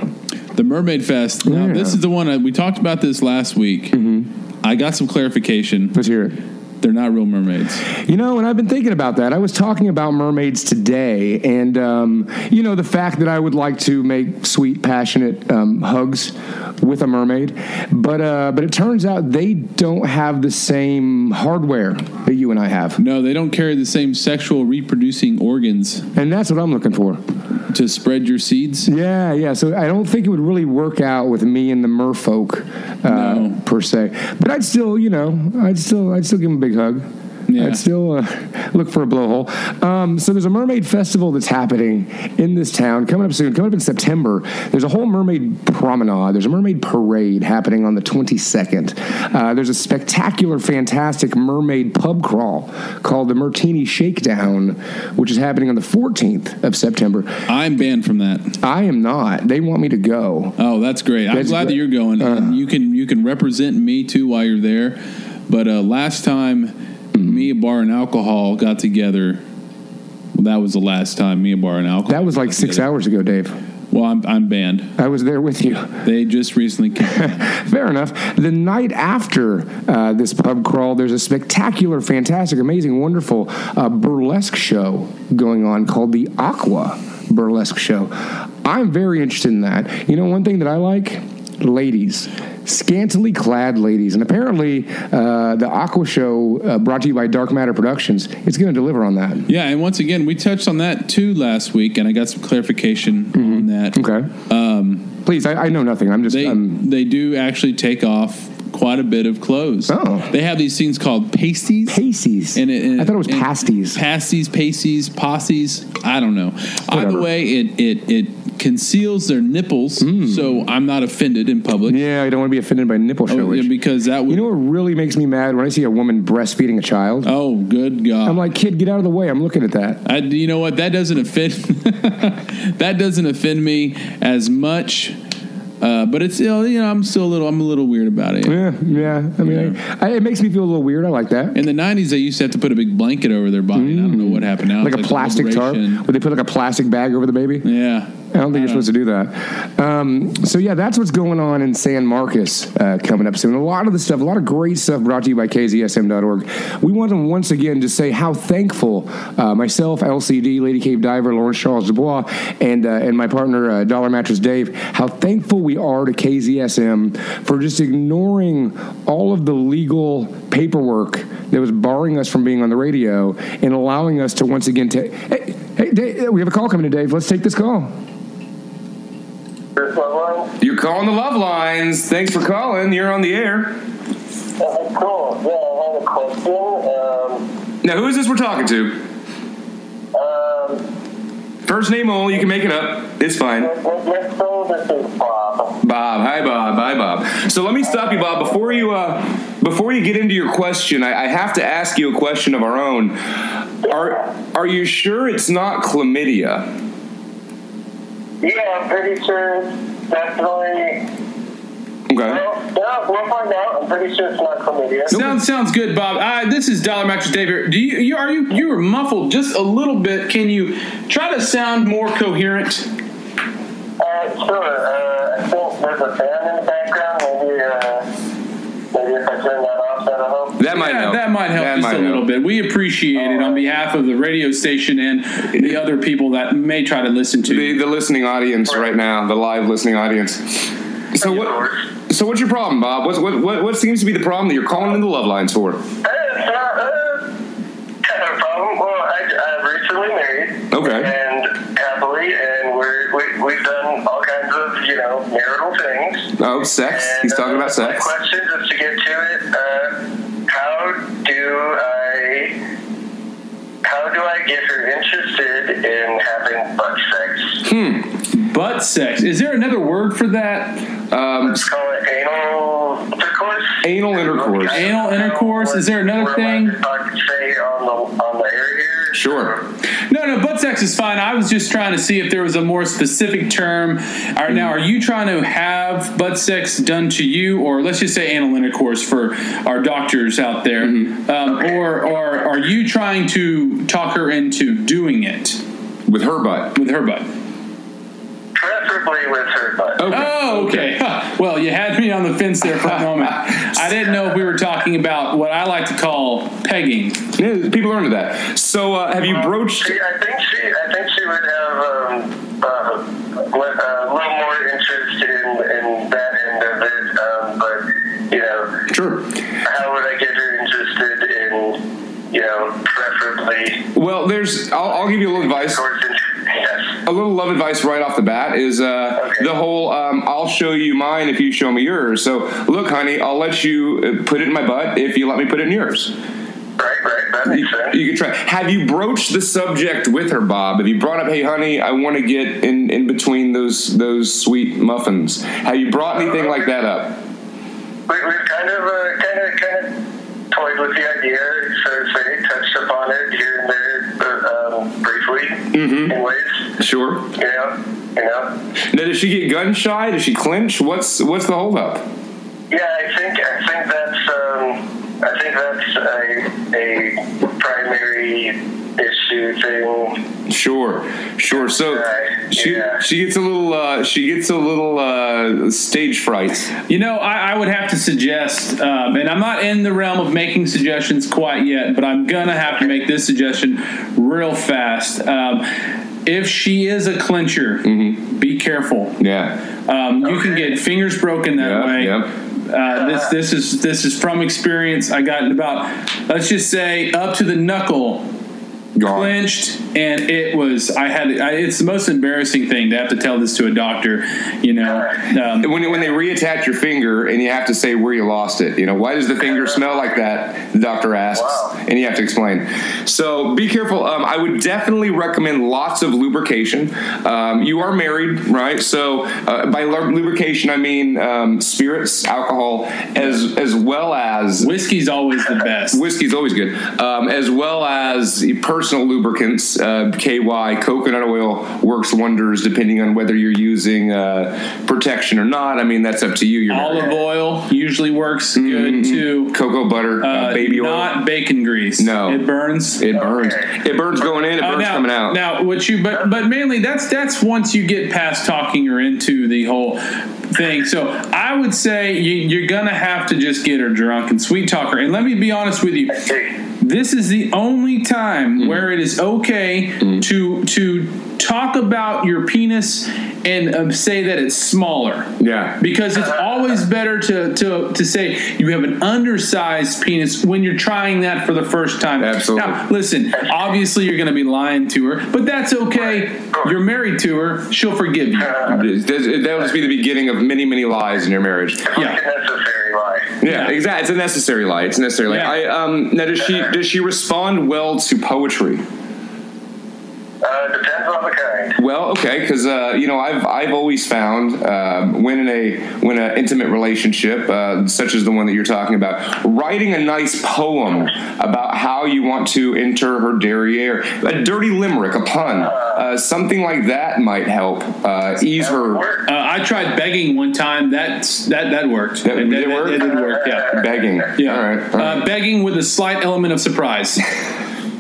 The Mermaid Fest. Now Yeah. Mm-hmm. this is the one I, we talked about this last week. I got some clarification. Let's hear it. They're not real mermaids. You know, and I've been thinking about that. I was talking about mermaids today, and um, you know, the fact that I would like to make sweet, passionate um, hugs with a mermaid, but uh, but it turns out they don't have the same hardware that you and I have, No, they don't carry the same sexual reproducing organs and that's what I'm looking for. to spread your seeds. Yeah, yeah. So I don't think it would really work out with me and the merfolk uh, No. per se. But I'd still, you know, I'd still, I'd still give him a big hug. Yeah. I'd still uh, *laughs* look for a blowhole. Um, so there's a mermaid festival that's happening in this town coming up soon. Coming up in September, there's a whole mermaid promenade. There's a mermaid parade happening on the 22nd. Uh, there's a spectacular, fantastic mermaid pub crawl called the Martini Shakedown, which is happening on the 14th of September. I'm banned from that. I am not. They want me to go. Oh, that's great. I'm That's glad that great. Uh-huh. you're going. and you can you can represent me too while you're there. But uh, last time Mm-hmm. Mia Bar and Alcohol got together, well, that was the last time Mia Bar and Alcohol. That was like six hours ago, Dave. Well, I'm, I'm banned. I was there with you. They just *laughs* recently kicked me out. Fair enough. The night after uh, this pub crawl, there's a spectacular, fantastic, amazing, wonderful uh, burlesque show going on called the Aqua Burlesque Show. I'm very interested in that. You know, one thing that I like? Ladies, scantily clad ladies. And apparently, uh, the Aqua Show, uh, brought to you by Dark Matter Productions, it's going to deliver on that. Yeah, and once again, we touched on that too last week, and I got some clarification on that. Mm-hmm. Okay. Um, Please, I, I know nothing. I'm just. They I'm- they do actually take off quite a bit of clothes. Oh. They have these things called pasties. Pasties. And it, and I thought it was and pasties. Pasties, pasties, posses. I don't know. Either Whatever. way, it it it conceals their nipples, so I'm not offended in public. Hmm. yeah, I don't want to be offended by nipple Oh, showage. yeah, because that would. you know what really makes me mad when I see a woman breastfeeding a child? oh, good God! I'm like, kid, get out of the way. I'm looking at that. I, you know what? That doesn't offend. *laughs* that doesn't offend me as much. Uh, but it's still, you know, I'm still a little, I'm a little weird about it. Yeah, yeah. I mean, I, I, it makes me feel a little weird. I like that. In the '90s, they used to have to put a big blanket over their body. and I don't know what happened now. Hmm. Like a It's plastic tarp, liberation. where they put like a plastic bag over the baby. Yeah. I don't think you're supposed to do that. Um, so yeah, that's what's going on in San Marcos uh, coming up soon. A lot of the stuff, a lot of great stuff brought to you by KZSM.org. We want to once again just say how thankful uh, myself, LCD, Lady Cave Diver, Lawrence Charles Dubois, and uh, and my partner uh, Dollar Mattress Dave, how thankful we are to KZSM for just ignoring all of the legal paperwork that was barring us from being on the radio and allowing us to once again take. Hey, hey, Dave, we have a call coming in, Dave. Let's take this call. Chris Loveline? You're calling the love lines. Thanks for calling. You're on the air. Uh, cool. Yeah, I had a question. Now, who is this we're talking to? Um, um, First name only. You can make it up. It's fine. let's go this is Bob. Bob. Hi, Bob. Hi, Bob. So let me stop you, Bob. Before you uh, before you get into your question, I, I have to ask you a question of our own. Are are you sure it's not chlamydia? Yeah, I'm pretty sure definitely. Okay. Well, no, we'll find out. I'm pretty sure it's not chlamydia. Sounds sounds good, Bob. Uh, this is Dollar Mattress Dave here. Do you, you are you you were muffled just a little bit? Can you try to sound more coherent? Uh, sure. Uh, I think there's a fan in the background. Maybe, uh, maybe if I turn that off, that'll help. That might Yeah, help. That might help just might a little bit. We appreciate it on behalf of the radio station and the other people that may try to listen to. The, the listening audience right now, the live listening audience. So what? So what's your problem, Bob? What's, what, what what seems to be the problem that you're calling in the love lines for? Uh, it's not, uh, not a problem. Well, I, I'm recently married. Okay. And happily, and we're, we, we've done all kinds of, you know, marital things. Oh, sex. And, He's talking uh, about sex. My question, just to get to it, uh, how do I you're interested in having butt sex, Butt sex. Is there another word for that? Um, let's call it anal intercourse. Anal intercourse. Okay. Anal intercourse. Is there another We're allowed thing? to talk- Say on the on the air here. sure. No, no, butt sex is fine. I was just trying to see if there was a more specific term. All right, now, are you trying to have butt sex done to you, or let's just say anal intercourse for our doctors out there, um, or, or are you trying to talk her into doing it With her butt. with her butt? Preferably with her butt. Okay. Oh, okay. Huh. Well, you had me on the fence there for a moment. I didn't know if we were talking about what I like to call pegging. Yeah, people are into that. So uh, have you broached? She, I think she, I think she would have um, uh, li- a little more interest in, in that end of it. Um, but you know, Sure. how would I get her interested in, you know, preferably? Well, there's. I'll, I'll give you a little advice. towards inter- Yes. a little love advice right off the bat is uh, Okay. the whole um, I'll show you mine if you show me yours. So, look, honey, I'll let you uh, put it in my butt if you let me put it in yours. Right. Right. That You, makes sense. you can try. Have you broached the subject with her, Bob? Have you brought up, hey, honey, I want to get in, in between those those sweet muffins? Have you brought anything like that up? We, we've kind of, uh, kind of, kind of toyed with the idea, so to say, touched upon it here and there, uh, um, briefly, Mm-hmm. in ways. Sure. You know, you know. Now, does she get gun shy? Does she clinch? What's what's the holdup? Yeah, I think, I think that's, um, I think that's a, a primary issue thing. Sure, sure. So Right, she yeah. she gets a little uh, she gets a little uh, stage fright. You know, I, I would have to suggest, um, and I'm not in the realm of making suggestions quite yet, but I'm gonna have to make this suggestion real fast. Um, if she is a clincher, be careful. Yeah. Um, you can get fingers broken that Yeah, way. yeah. Uh, this this is this is from experience. I got about let's just say up to the knuckle Gone. clinched and it was i had I, it's the most embarrassing thing to have to tell this to a doctor you know um, When, when they reattach your finger and you have to say where you lost it, you know, why does the finger smell like that? The doctor asks, Wow. and you have to explain. So be careful. Um, I would definitely recommend lots of lubrication. Um, you are married, right? So uh, by lu- lubrication, I mean um, spirits, alcohol, as as well as whiskey's always the best Whiskey's always good, um, as well as personal lubricants. Uh, KY coconut oil works wonders, depending on whether you're using uh, protection or not. I mean, that's up to you. You're olive oil usually works good too cocoa butter, Mm-hmm. uh, uh, baby oil. not bacon grease No. it burns it burns. It burns going in. It Uh, burns now, coming out. now what you but but mainly that's that's once you get past talking her into the whole thing so i would say you, you're gonna have to just get her drunk and sweet talk her and let me be honest with you this is the only time Mm-hmm. where it is okay to to talk about your penis and um, say that it's smaller yeah. because it's always better to, to, to say you have an undersized penis when you're trying that for the first time. Absolutely. Now, listen, obviously you're going to be lying to her, but that's okay. You're married to her, she'll forgive you. Uh, This- this- That'll just be the beginning of many, many lies in your marriage. Yeah. It's a necessary lie. Yeah, exactly. It's a necessary lie. It's a necessary lie. Yeah. I, um, now, does she does she respond well to poetry? Uh, depends on the kind. Well, okay, because uh, you know I've I've always found um, when in a when an intimate relationship uh, such as the one that you're talking about, writing a nice poem about how you want to enter her derriere, a dirty limerick, a pun, uh, something like that might help uh, ease her Work. Uh, I tried begging one time. That's that that worked. That- did it work? It, did work. Yeah. begging. Yeah. All right. all right. Uh, begging with a slight element of surprise.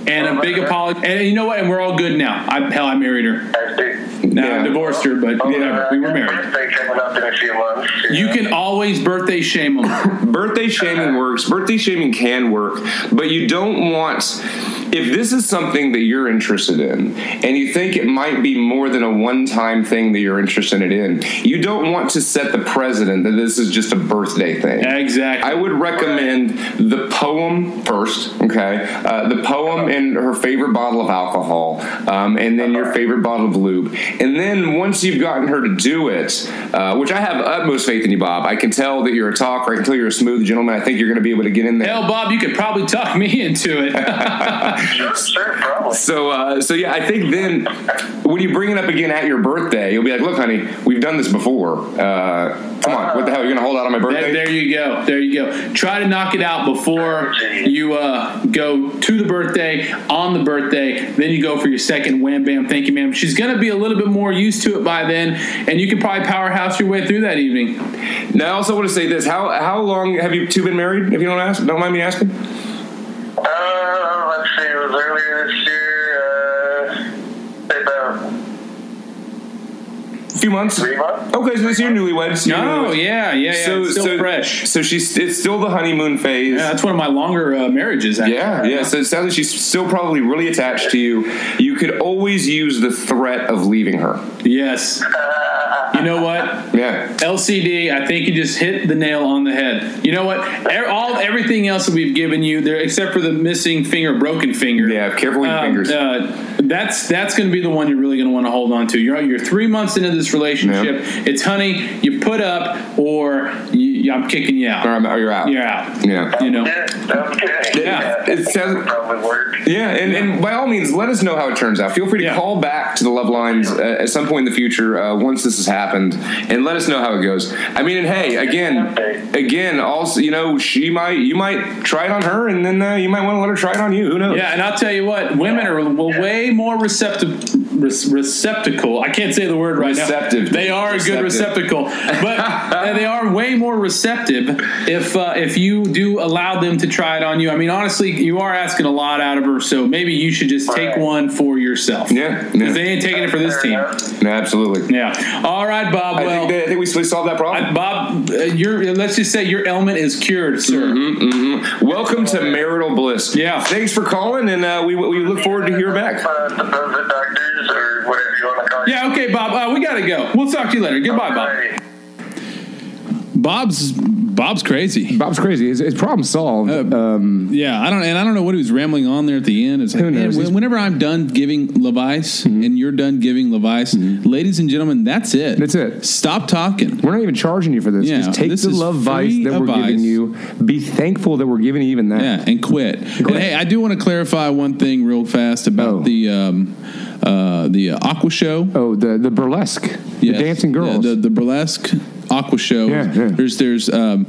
And a big apology, and you know what? And we're all good now. I, hell, I married her. I see. Now Yeah. I divorced her, but whatever. Uh, We were married. Birthday coming up in a few months. You know. can always birthday shame them. Uh, birthday shaming works birthday shaming can work but you don't want if this is something that you're interested in and you think it might be more than a one-time thing that you're interested in you don't want to set the precedent that this is just a birthday thing exactly. I would recommend the poem first, okay? Uh, the poem and her favorite bottle of alcohol, um, and then your favorite bottle of lube. And then once you've gotten her to do it, uh, which I have utmost faith in you, Bob. I can tell that you're a talker. I can tell you're a smooth gentleman. I think you're going to be able to get in there. Hell, Bob, you could probably talk *laughs* me into it. Sure, sure, probably. So, uh, so yeah, I think then when you bring it up again at your birthday, you'll be like, "Look, honey, we've done this before. Uh, come on, what the hell? You're gonna hold out on my There, birthday?" there you go. There you go. Try to knock it out before you uh, go to the birthday, on the birthday. Then you go for your second wham bam. Thank you, ma'am. She's going to be a little bit more used to it by then, and you can probably powerhouse your way through that evening. now, I also want to say this: how how long have you two been married? If you don't ask, don't mind me asking. Uh, let's see, it was earlier this year, uh, say about A few months. three months. Okay, so this year newlyweds. you're Oh, newlyweds. yeah, yeah, yeah. it's still fresh. So she's it's still the honeymoon phase. Yeah, that's one of my longer uh, marriages. Actually. Yeah, yeah. So it sounds like she's still probably really attached to you. You could always use the threat of leaving her. Yes. You know what? Yeah. LCD, I think you just hit the nail on the head. You know what? E- All everything else that we've given you, there except for the missing finger, broken finger. Yeah, careful with your Um, fingers. uh, that's that's going to be the one you're really going to want to hold on to. You're you're three months into this relationship. It's honey, you put up, or you, I'm kicking you out. Or I'm- or you're out. You're out. Yeah. You know. Yeah, okay. Yeah, it sounds- probably work. Yeah, and, and by all means, let us know how it turns out. Feel free to Yeah. call back to the love lines uh, at some point in the future uh, once this has happened, and let us know how it goes. I mean, and hey, again, again, also, you know, she might, you might try it on her, and then uh, you might want to let her try it on you. Who knows? Yeah, and I'll tell you what, women are w- way more receptive, re- receptacle. I can't say the word right Receptive. now. They are a good Receptive. receptacle, but *laughs* uh, they are way more receptive if uh, if you do allow them to try it on you. I mean, honestly, you are asking a lot out of her, so maybe you should just take Right. one for yourself. Yeah, yeah. 'Cause they ain't taking it for this Fair team. enough. absolutely. Yeah. All right, Bob. I, well. think that, I think we solved that problem. I- Bob, uh, your let's just say your ailment is cured, sir. Mm-hmm. Welcome to marital bliss. Yeah. Thanks for calling, and uh, we we look forward to hear back. Uh, the private doctors or whatever you want to call it. Yeah, okay, Bob. Uh, we gotta go. We'll talk to you later. Goodbye, Bob. Alrighty. Bob's Bob's crazy. Bob's crazy. It's, it's problem solved. Uh, um, Yeah, I don't, and I don't know what he was rambling on there at the end. It's like, Who knows? man, He's- Mm-hmm. whenever I'm done giving Levice and you're done giving Levice, ladies and gentlemen, that's it. That's it. Stop talking. we're not even charging you for this. Yeah, Just take this the is love vice free that we're advice. giving you. Be thankful that we're giving you even that. Yeah, and quit. And hey, I do want to clarify one thing real fast about Oh. the um, uh, the uh, Aqua Show. Oh, the the burlesque, Yes. the dancing girls. the, the, the burlesque Aqua Show. Yeah, yeah. There's there's um,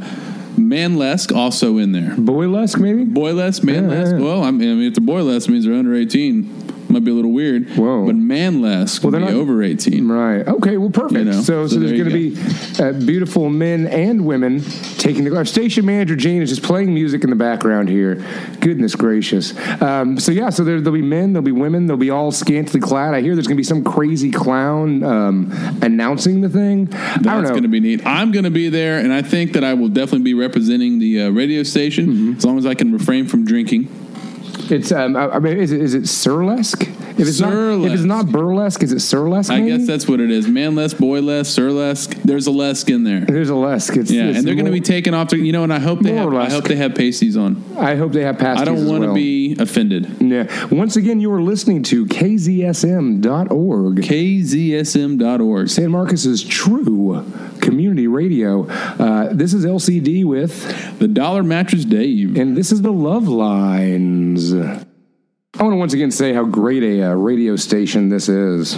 manlesque also in there. Boylesque, maybe? Boyless, manless. Yeah, yeah, yeah. Well, I mean, I mean, if they're boyless, it means they're under eighteen. Might be a little weird. Whoa. But manless Well, would they're be not- over eighteen. Right. Okay, well, perfect. You know, so, so, so there's there you going to be uh, beautiful men and women taking the. Our station manager, Gene, is just playing music in the background here. Goodness gracious. Um, so, yeah, so there, there'll be men, there'll be women, they'll be all scantily clad. I hear there's going to be some crazy clown um, announcing the thing. I don't That's know. going to be neat. I'm going to be there, and I think that I will definitely be representing the uh, radio station Mm-hmm. as long as I can refrain from drinking. It's um, I I mean, is it is it surlesque? If it's not if it's Surlesque. not burlesque, is it surlesque? I maybe? guess that's what it is. Manless, boyless, sirlesque. There's a lesk in there. there's a lesque. It's, Yeah, it's and they're going to more- be taking off. their- You know, and I hope they have, I Morlesque. hope they have pasties on. I hope they have pasties. I don't as want to well. be offended. Yeah. Once again, you are listening to KZSM.org. KZSM.org. San Marcos's true community radio. Uh, this is LCD with, The Dollar Mattress Dave. and this is the Love Lines. I want to once again say how great a uh, radio station this is.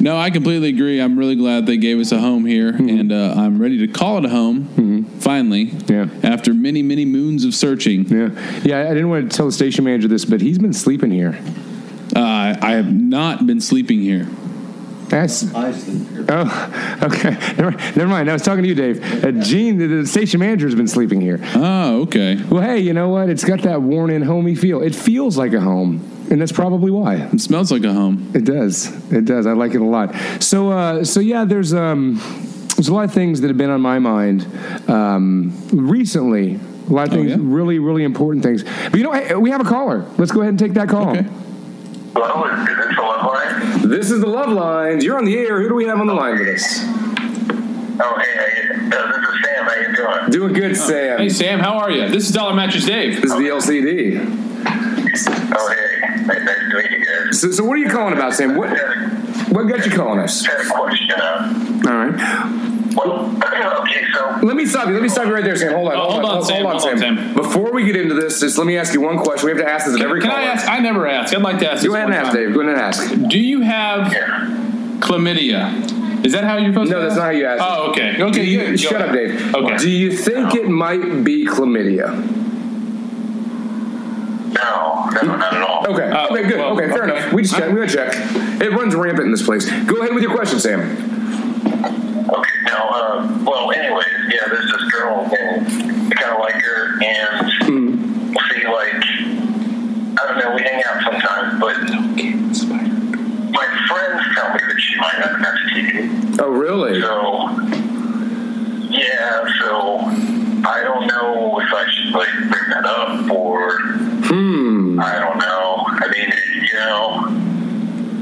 No, I completely agree. I'm really glad they gave us a home here, Mm-hmm. and uh, I'm ready to call it a home finally. Yeah. After many, many moons of searching, Yeah, yeah. I didn't want to tell the station manager this, but he's been sleeping here. uh, I have not been sleeping here. That's Oh, okay. Never, never mind. I was talking to you, Dave. Uh, Gene, the, the station manager, has been sleeping here. Oh, okay. Well, hey, you know what? It's got that worn-in, homey feel. It feels like a home, and that's probably why. It smells like a home. It does. It does. I like it a lot. So, uh, so yeah, there's um, there's a lot of things that have been on my mind um, recently. A lot of Oh, things, yeah? really, really important things. But you know, hey, we have a caller. Let's go ahead and take that call. Okay. Hello, is this the love line? This is the love lines. You're on the air. Who do we have on the line with us? Oh, hey, how you, uh, this is Sam. How you doing? Doing Uh, good, Sam. Sam, how are you? This is Dollar Mattress Dave. This is the LCD. Oh, hey. Nice to meet you guys. So, so what are you calling about, Sam? What what got you calling us? Fair question. Uh, All right. well, *clears throat* okay, so Let me stop you. Let me stop you right there, Sam. Hold on. Oh, hold on, Sam. Hold on, Sam. Before we get into this, just let me ask you one question. We have to ask this at every Can caller. I ask? I never ask. I'd like to ask. Go this ahead and one ask, time. Dave. Go ahead and ask. Do you have chlamydia? Is that how you're supposed No, to? that's not how you ask. Oh, okay. Do Okay, you- you, shut up, Dave. Okay. Do you think it might be chlamydia? no, no, not at all. Okay. Oh, okay. Good. well, okay. Fair okay. enough. We just check. We gotta check. It runs rampant in this place. Go ahead with your question, Sam. Okay, now, uh, well, anyways, yeah, there's this girl, and I kind of like her, and see, like, I don't know, we hang out sometimes, but my friends tell me that she might have an STD. Oh, really? So, yeah, so I don't know if I should, like, bring that up, or Hmm. I don't know. I mean, you know,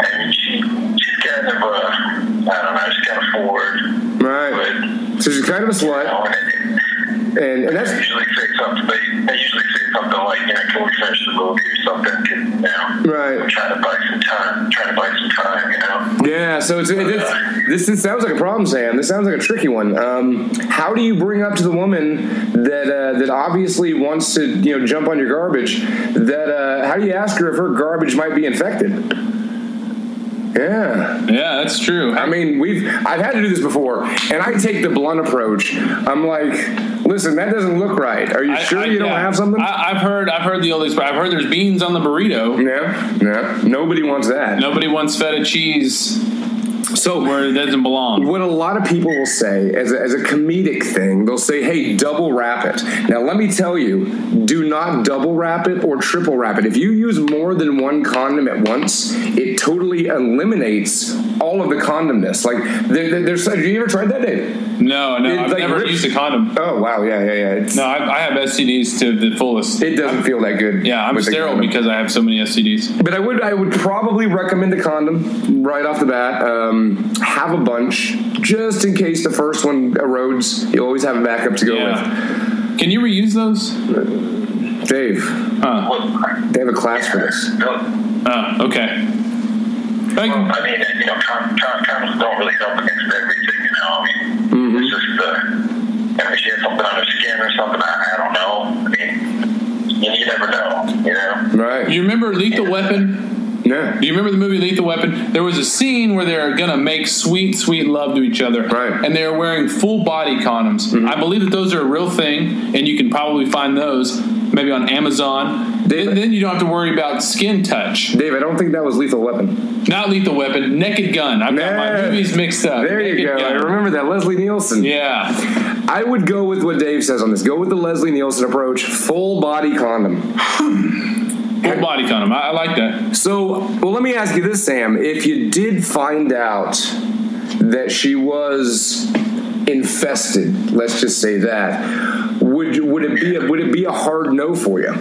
I mean, she, she's kind of a, I don't know, she's kind of forward, Right. but. So she's kind of a slut, and, and They that's usually say something. They, they usually say something like, you know, can we finish the movie or something? Can, you know, right. trying to buy some time, trying to buy some time, you know. Yeah. So it's, it, this, this this sounds like a problem, Sam. This sounds like a tricky one. Um, how do you bring up to the woman that uh, that obviously wants to you know jump on your garbage? That uh, how do you ask her if her garbage might be infected? Yeah. Yeah, that's true. I mean, we've I've had to do this before, and I take the blunt approach. I'm like, listen, that doesn't look right. Are you I- sure I- you don't yeah. have something? I, I've heard. I've heard the old. exp- I've heard there's beans on the burrito. yeah, yeah. Nobody wants that. Nobody wants feta cheese So where it doesn't belong. What a lot of people will say as a, as a comedic thing, they'll say, hey, double wrap it. Now, let me tell you, do not double wrap it or triple wrap it. If you use more than one condom at once, it totally eliminates all of the condomness. Like, there, there, there's, have you ever tried that, Dave? No, no, It's I've like never ripped- used a condom. Oh, wow. Yeah, yeah, yeah. It's, No, I, I have STDs to the fullest. It doesn't feel that good. yeah, I'm with the sterile condom. because I have so many STDs. But I would I would probably recommend a condom right off the bat. Um, have a bunch just in case the first one erodes. You always have a backup to go Yeah. Can you reuse those? with. Dave. Well, They have a class for this. don't, Oh, okay. Like, I mean, you know, con- con- condoms don't really help against everything, you know. I mean, it's just uh, I mean, she had something on her skin or something. I, I don't know. I mean, you, you never know, you know. Right. you remember Lethal Weapon? Yeah. Do you remember the movie Lethal Weapon? There was a scene where they're gonna make sweet, sweet love to each other, Right. Mm-hmm. And they're wearing full body condoms. I believe that those are a real thing, and you can probably find those maybe on Amazon. They- Then, then you don't have to worry about skin touch. Dave, I don't think that was Lethal Weapon. Not Lethal Weapon, Naked Gun. I've got my Yeah. movies mixed up. There you Naked go. I Gun. remember that. Leslie Nielsen. Yeah, I would go with what Dave says on this. Go with the Leslie Nielsen approach, full body condom. full body condom. I, I like that. So, well, let me ask you this, Sam. If you did find out that she was infested, let's just say that, would you- would it be a, would it be a hard no for you?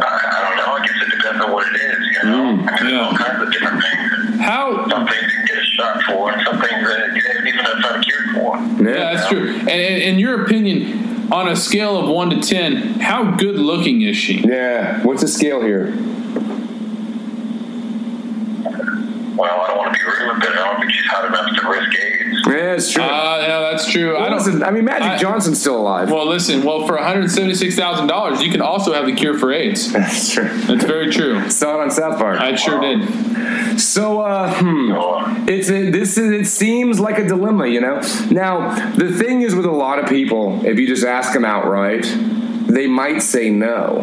I, I don't know. I guess it depends on what it is, you know. I mean, there's all yeah. kinds of different things. How? some things you can get a shot for, and some things that you haven't even had time cured for. Yeah, that's true. And, and in your opinion, on a scale of one to ten, how good looking is she? Yeah. What's the scale here? Well, I don't want to be rude, but I don't think she's hot enough to risk AIDS. Yeah, it's true. Uh, yeah, that's true. I I, don't. Listen, I mean, Magic I- Johnson's still alive. Well, listen. Well, for one hundred seventy-six thousand dollars, you can also have the cure for AIDS. that's true. *laughs* That's very true. Saw it on South Park. I sure did. So, uh, hmm. So, It's a, this is, it seems like a dilemma, you know. Now the thing is with a lot of people, if you just ask them outright, they might say no.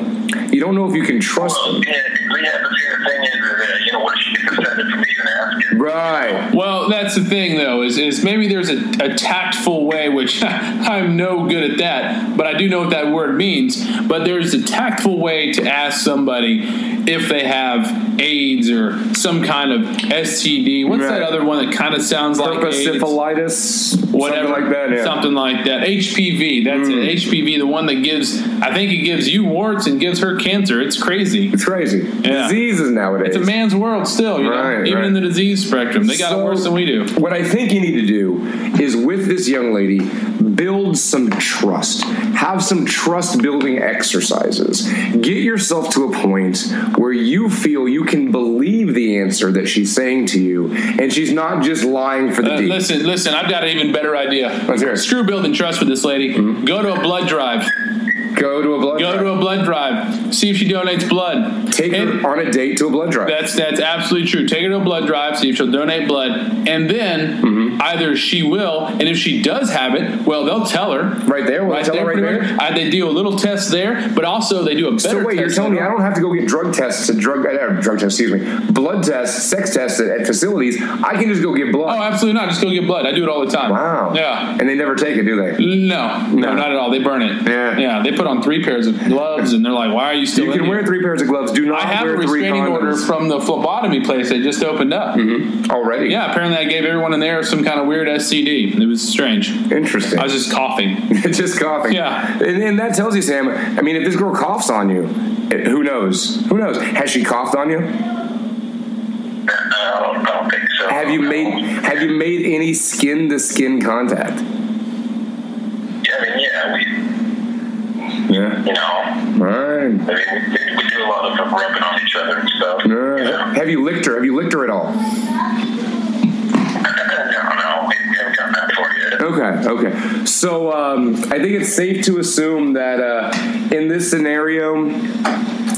You don't know if you can trust well, them. yeah, yeah, but see, the thing is, is uh, that, you know, what if she gets offended for me even asking? Right. Well, that's the thing, though, is, is maybe there's a, a tactful way, which *laughs* I'm no good at that, but I do know what that word means. But there's a tactful way to ask somebody if they have AIDS or some kind of STD. What's Right. that other one that kind of sounds like AIDS? Herpessyphilitis, whatever, something like that. Yeah. Mm. something like that. HPV, that's it. HPV, the one that gives, I think it gives you warts and gives her cancer. It's crazy. It's crazy. Yeah. Diseases nowadays. It's a man's world still, you know, Right, even right. in the disease spectrum. They got So, it worse than we do. What I think you need to do is with this young lady, build some trust. Have some trust building exercises. Get yourself to a point where you feel you can believe the answer that she's saying to you, and she's not just lying for the Uh, deed. listen, listen, I've got an even better idea. Let's hear it. Mm-hmm. Screw building trust with this lady. Go to a blood drive. Go to a blood. Go drive. to a blood drive. See if she donates blood. Take And- her on a date to a blood drive. That's that's absolutely true. Take her to a blood drive, see if she'll donate blood, and then Mm-hmm. either she will, and if she does have it, well, they'll tell her. Right there, will they tell her right pretty there? much. Uh, they do a little test there, but also they do a better. So wait, you're test telling me later. I don't have to go get drug tests and drug uh, drug tests, excuse me, blood tests, sex tests at, at facilities. I can just go get blood. Oh, absolutely not. Just go get blood. I do it all the time. wow. Oh, Yeah. And they never take it, do they? No, no, No. not at all. They burn it. Yeah. yeah. They put on three pairs of gloves, and they're like, "Why are you still?" You in can here? wear three pairs of gloves. Do not I have a wear three restraining condoms Mm-hmm. order from the phlebotomy place that just opened up. already. Yeah, apparently I gave everyone in there some kind of weird SCD. It was strange. Interesting. I was just coughing. *laughs* just coughing. Yeah. And, and that tells you, Sam. I mean, if this girl coughs on you, eh, who knows? Who knows? Has she coughed on you? I don't, I don't think so. Have you made Have you made any skin to skin contact? Yeah, I mean, yeah, we, Yeah. you know, All right. I mean, we, we do a lot of rubbing on each other and stuff. All You right. know? Uh, Have you licked her? Have you licked her at all? no, no, we, we haven't gotten that far yet. Okay, okay. So um, I think it's safe to assume that uh, in this scenario,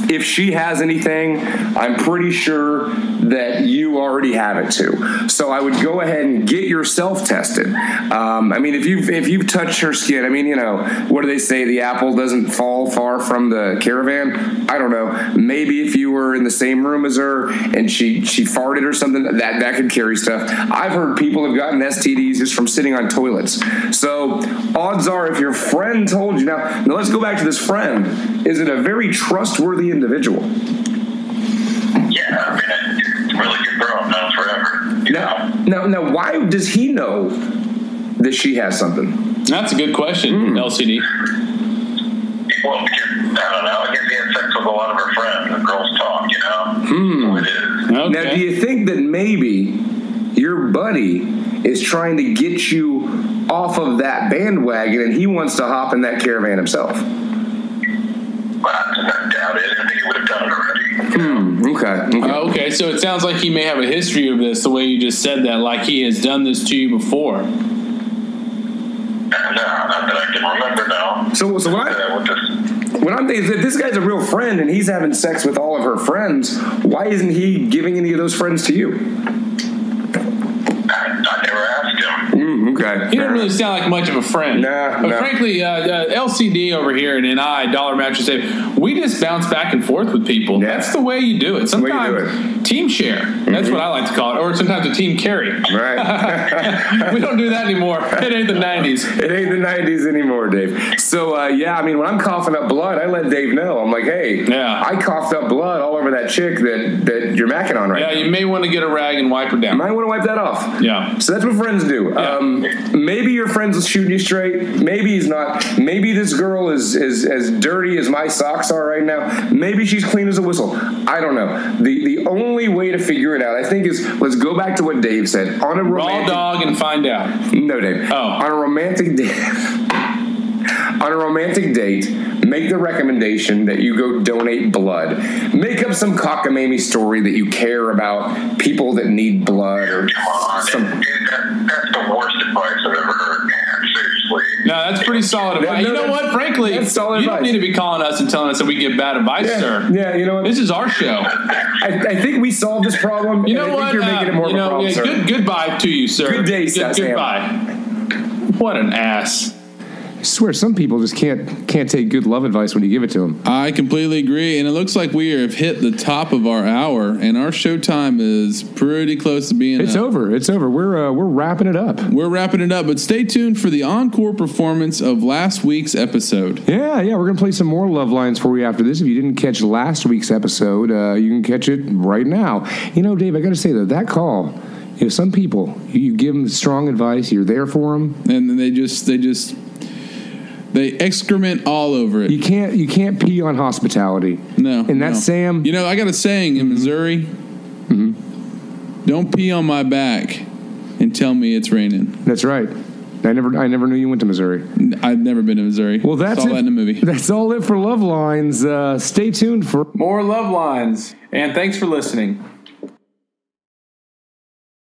if she has anything, I'm pretty sure that you already have it too. So I would go ahead and get yourself tested. Um, I mean, if you've if you've touched her skin, I mean, you know, what do they say? The apple doesn't fall far from the caravan. I don't know. Maybe if you were in the same room as her and she she farted or something, that that could carry stuff. I've heard people have gotten STDs just from sitting on toilets. So odds are, if your friend told you now, now let's go back to this friend. Is it a very trustworthy individual? Yeah, I mean, it's a really good girl. I've known forever. You Now, know? now, now, why does he know that she has something? That's a good question, Hmm. LCD. Well, because, I don't know. I guess we had sex with a lot of her friends. The girls talk, you know? So it is. Okay. Now, do you think that maybe your buddy is trying to get you off of that bandwagon and he wants to hop in that caravan himself? But I, I doubt it. I think it would have done it already. Okay. okay. Uh, okay, so it sounds like he may have a history of this, the way you just said that, like he has done this to you before. No, uh, not that I can remember now. So, so what, I, Uh, with this, what I'm thinking is if this guy's a real friend and he's having sex with all of her friends, why isn't he giving any of those friends to you? I, I never asked him. Mm, *laughs* okay. He doesn't really sound like much of a friend. Nah, but nah. frankly, uh, uh, LCD over here and, and I, Dollar Mattress Dave, we just bounce back and forth with people. Yeah. That's the way you do it. way you do Mm-hmm. Sometimes team share. That's what I like to call it, or sometimes a *laughs* team carry. Right. we don't do that anymore. It ain't the '90s. It ain't the 90s anymore, Dave. So, uh, yeah, I mean, when I'm coughing up blood, I let Dave know. I'm like, hey, Yeah. I coughed up blood all over that chick that, that you're macking on right Yeah, now. you may want to get a rag and wipe her down. Might want to wipe that off. Yeah. So that's what friends do. Um, maybe your friend's shooting you straight. Maybe he's not. Maybe this girl is, is as dirty as my socks are right now. Maybe she's clean as a whistle. I don't know. The the only way to figure it out, I think, is let's go back to what Dave said. On a Raw romantic dog and find out. no, Dave. Oh. On a romantic *laughs* date. On a romantic date, make the recommendation that you go donate blood. Make up some cockamamie story that you care about people that need blood or Come on. some. Dude, that, that's the worst advice I've ever heard, man. Seriously. No, that's pretty solid advice. no, you know that's- what? Frankly, that's solid you don't advice. need to be calling us and telling us that we give bad advice, Yeah, sir. yeah, you know what? This is our show. I, I think we solved this problem. You and know I think what? You're making Uh, it more you know, of a problem, yeah, sir. good goodbye to you, sir. Good day, Sam. Good, goodbye. What an ass. I swear, some people just can't can't take good love advice when you give it to them. I completely agree, and it looks like we have hit the top of our hour, and our show time is pretty close to being. It's up. over. It's over. We're uh, we're wrapping it up. We're wrapping it up, but stay tuned for the encore performance of last week's episode. Yeah, yeah, we're gonna play some more love lines for you after this. If you didn't catch last week's episode, uh, you can catch it right now. You know, Dave, I gotta say though, that call. You know, some people you, you give them strong advice, you're there for them. and then they just they just they excrement all over it. You can't you can't pee on hospitality. no, and that's no. Sam. Mm-hmm. You know, I got a saying in Missouri: "Don't pee on my back and tell me it's raining." That's right. I never, I never knew you went to Missouri. I've never been to Missouri. Well, that's Saw it. that in a movie. *laughs* That's all it for Love Lines. Uh, stay tuned for More love lines. And thanks for listening.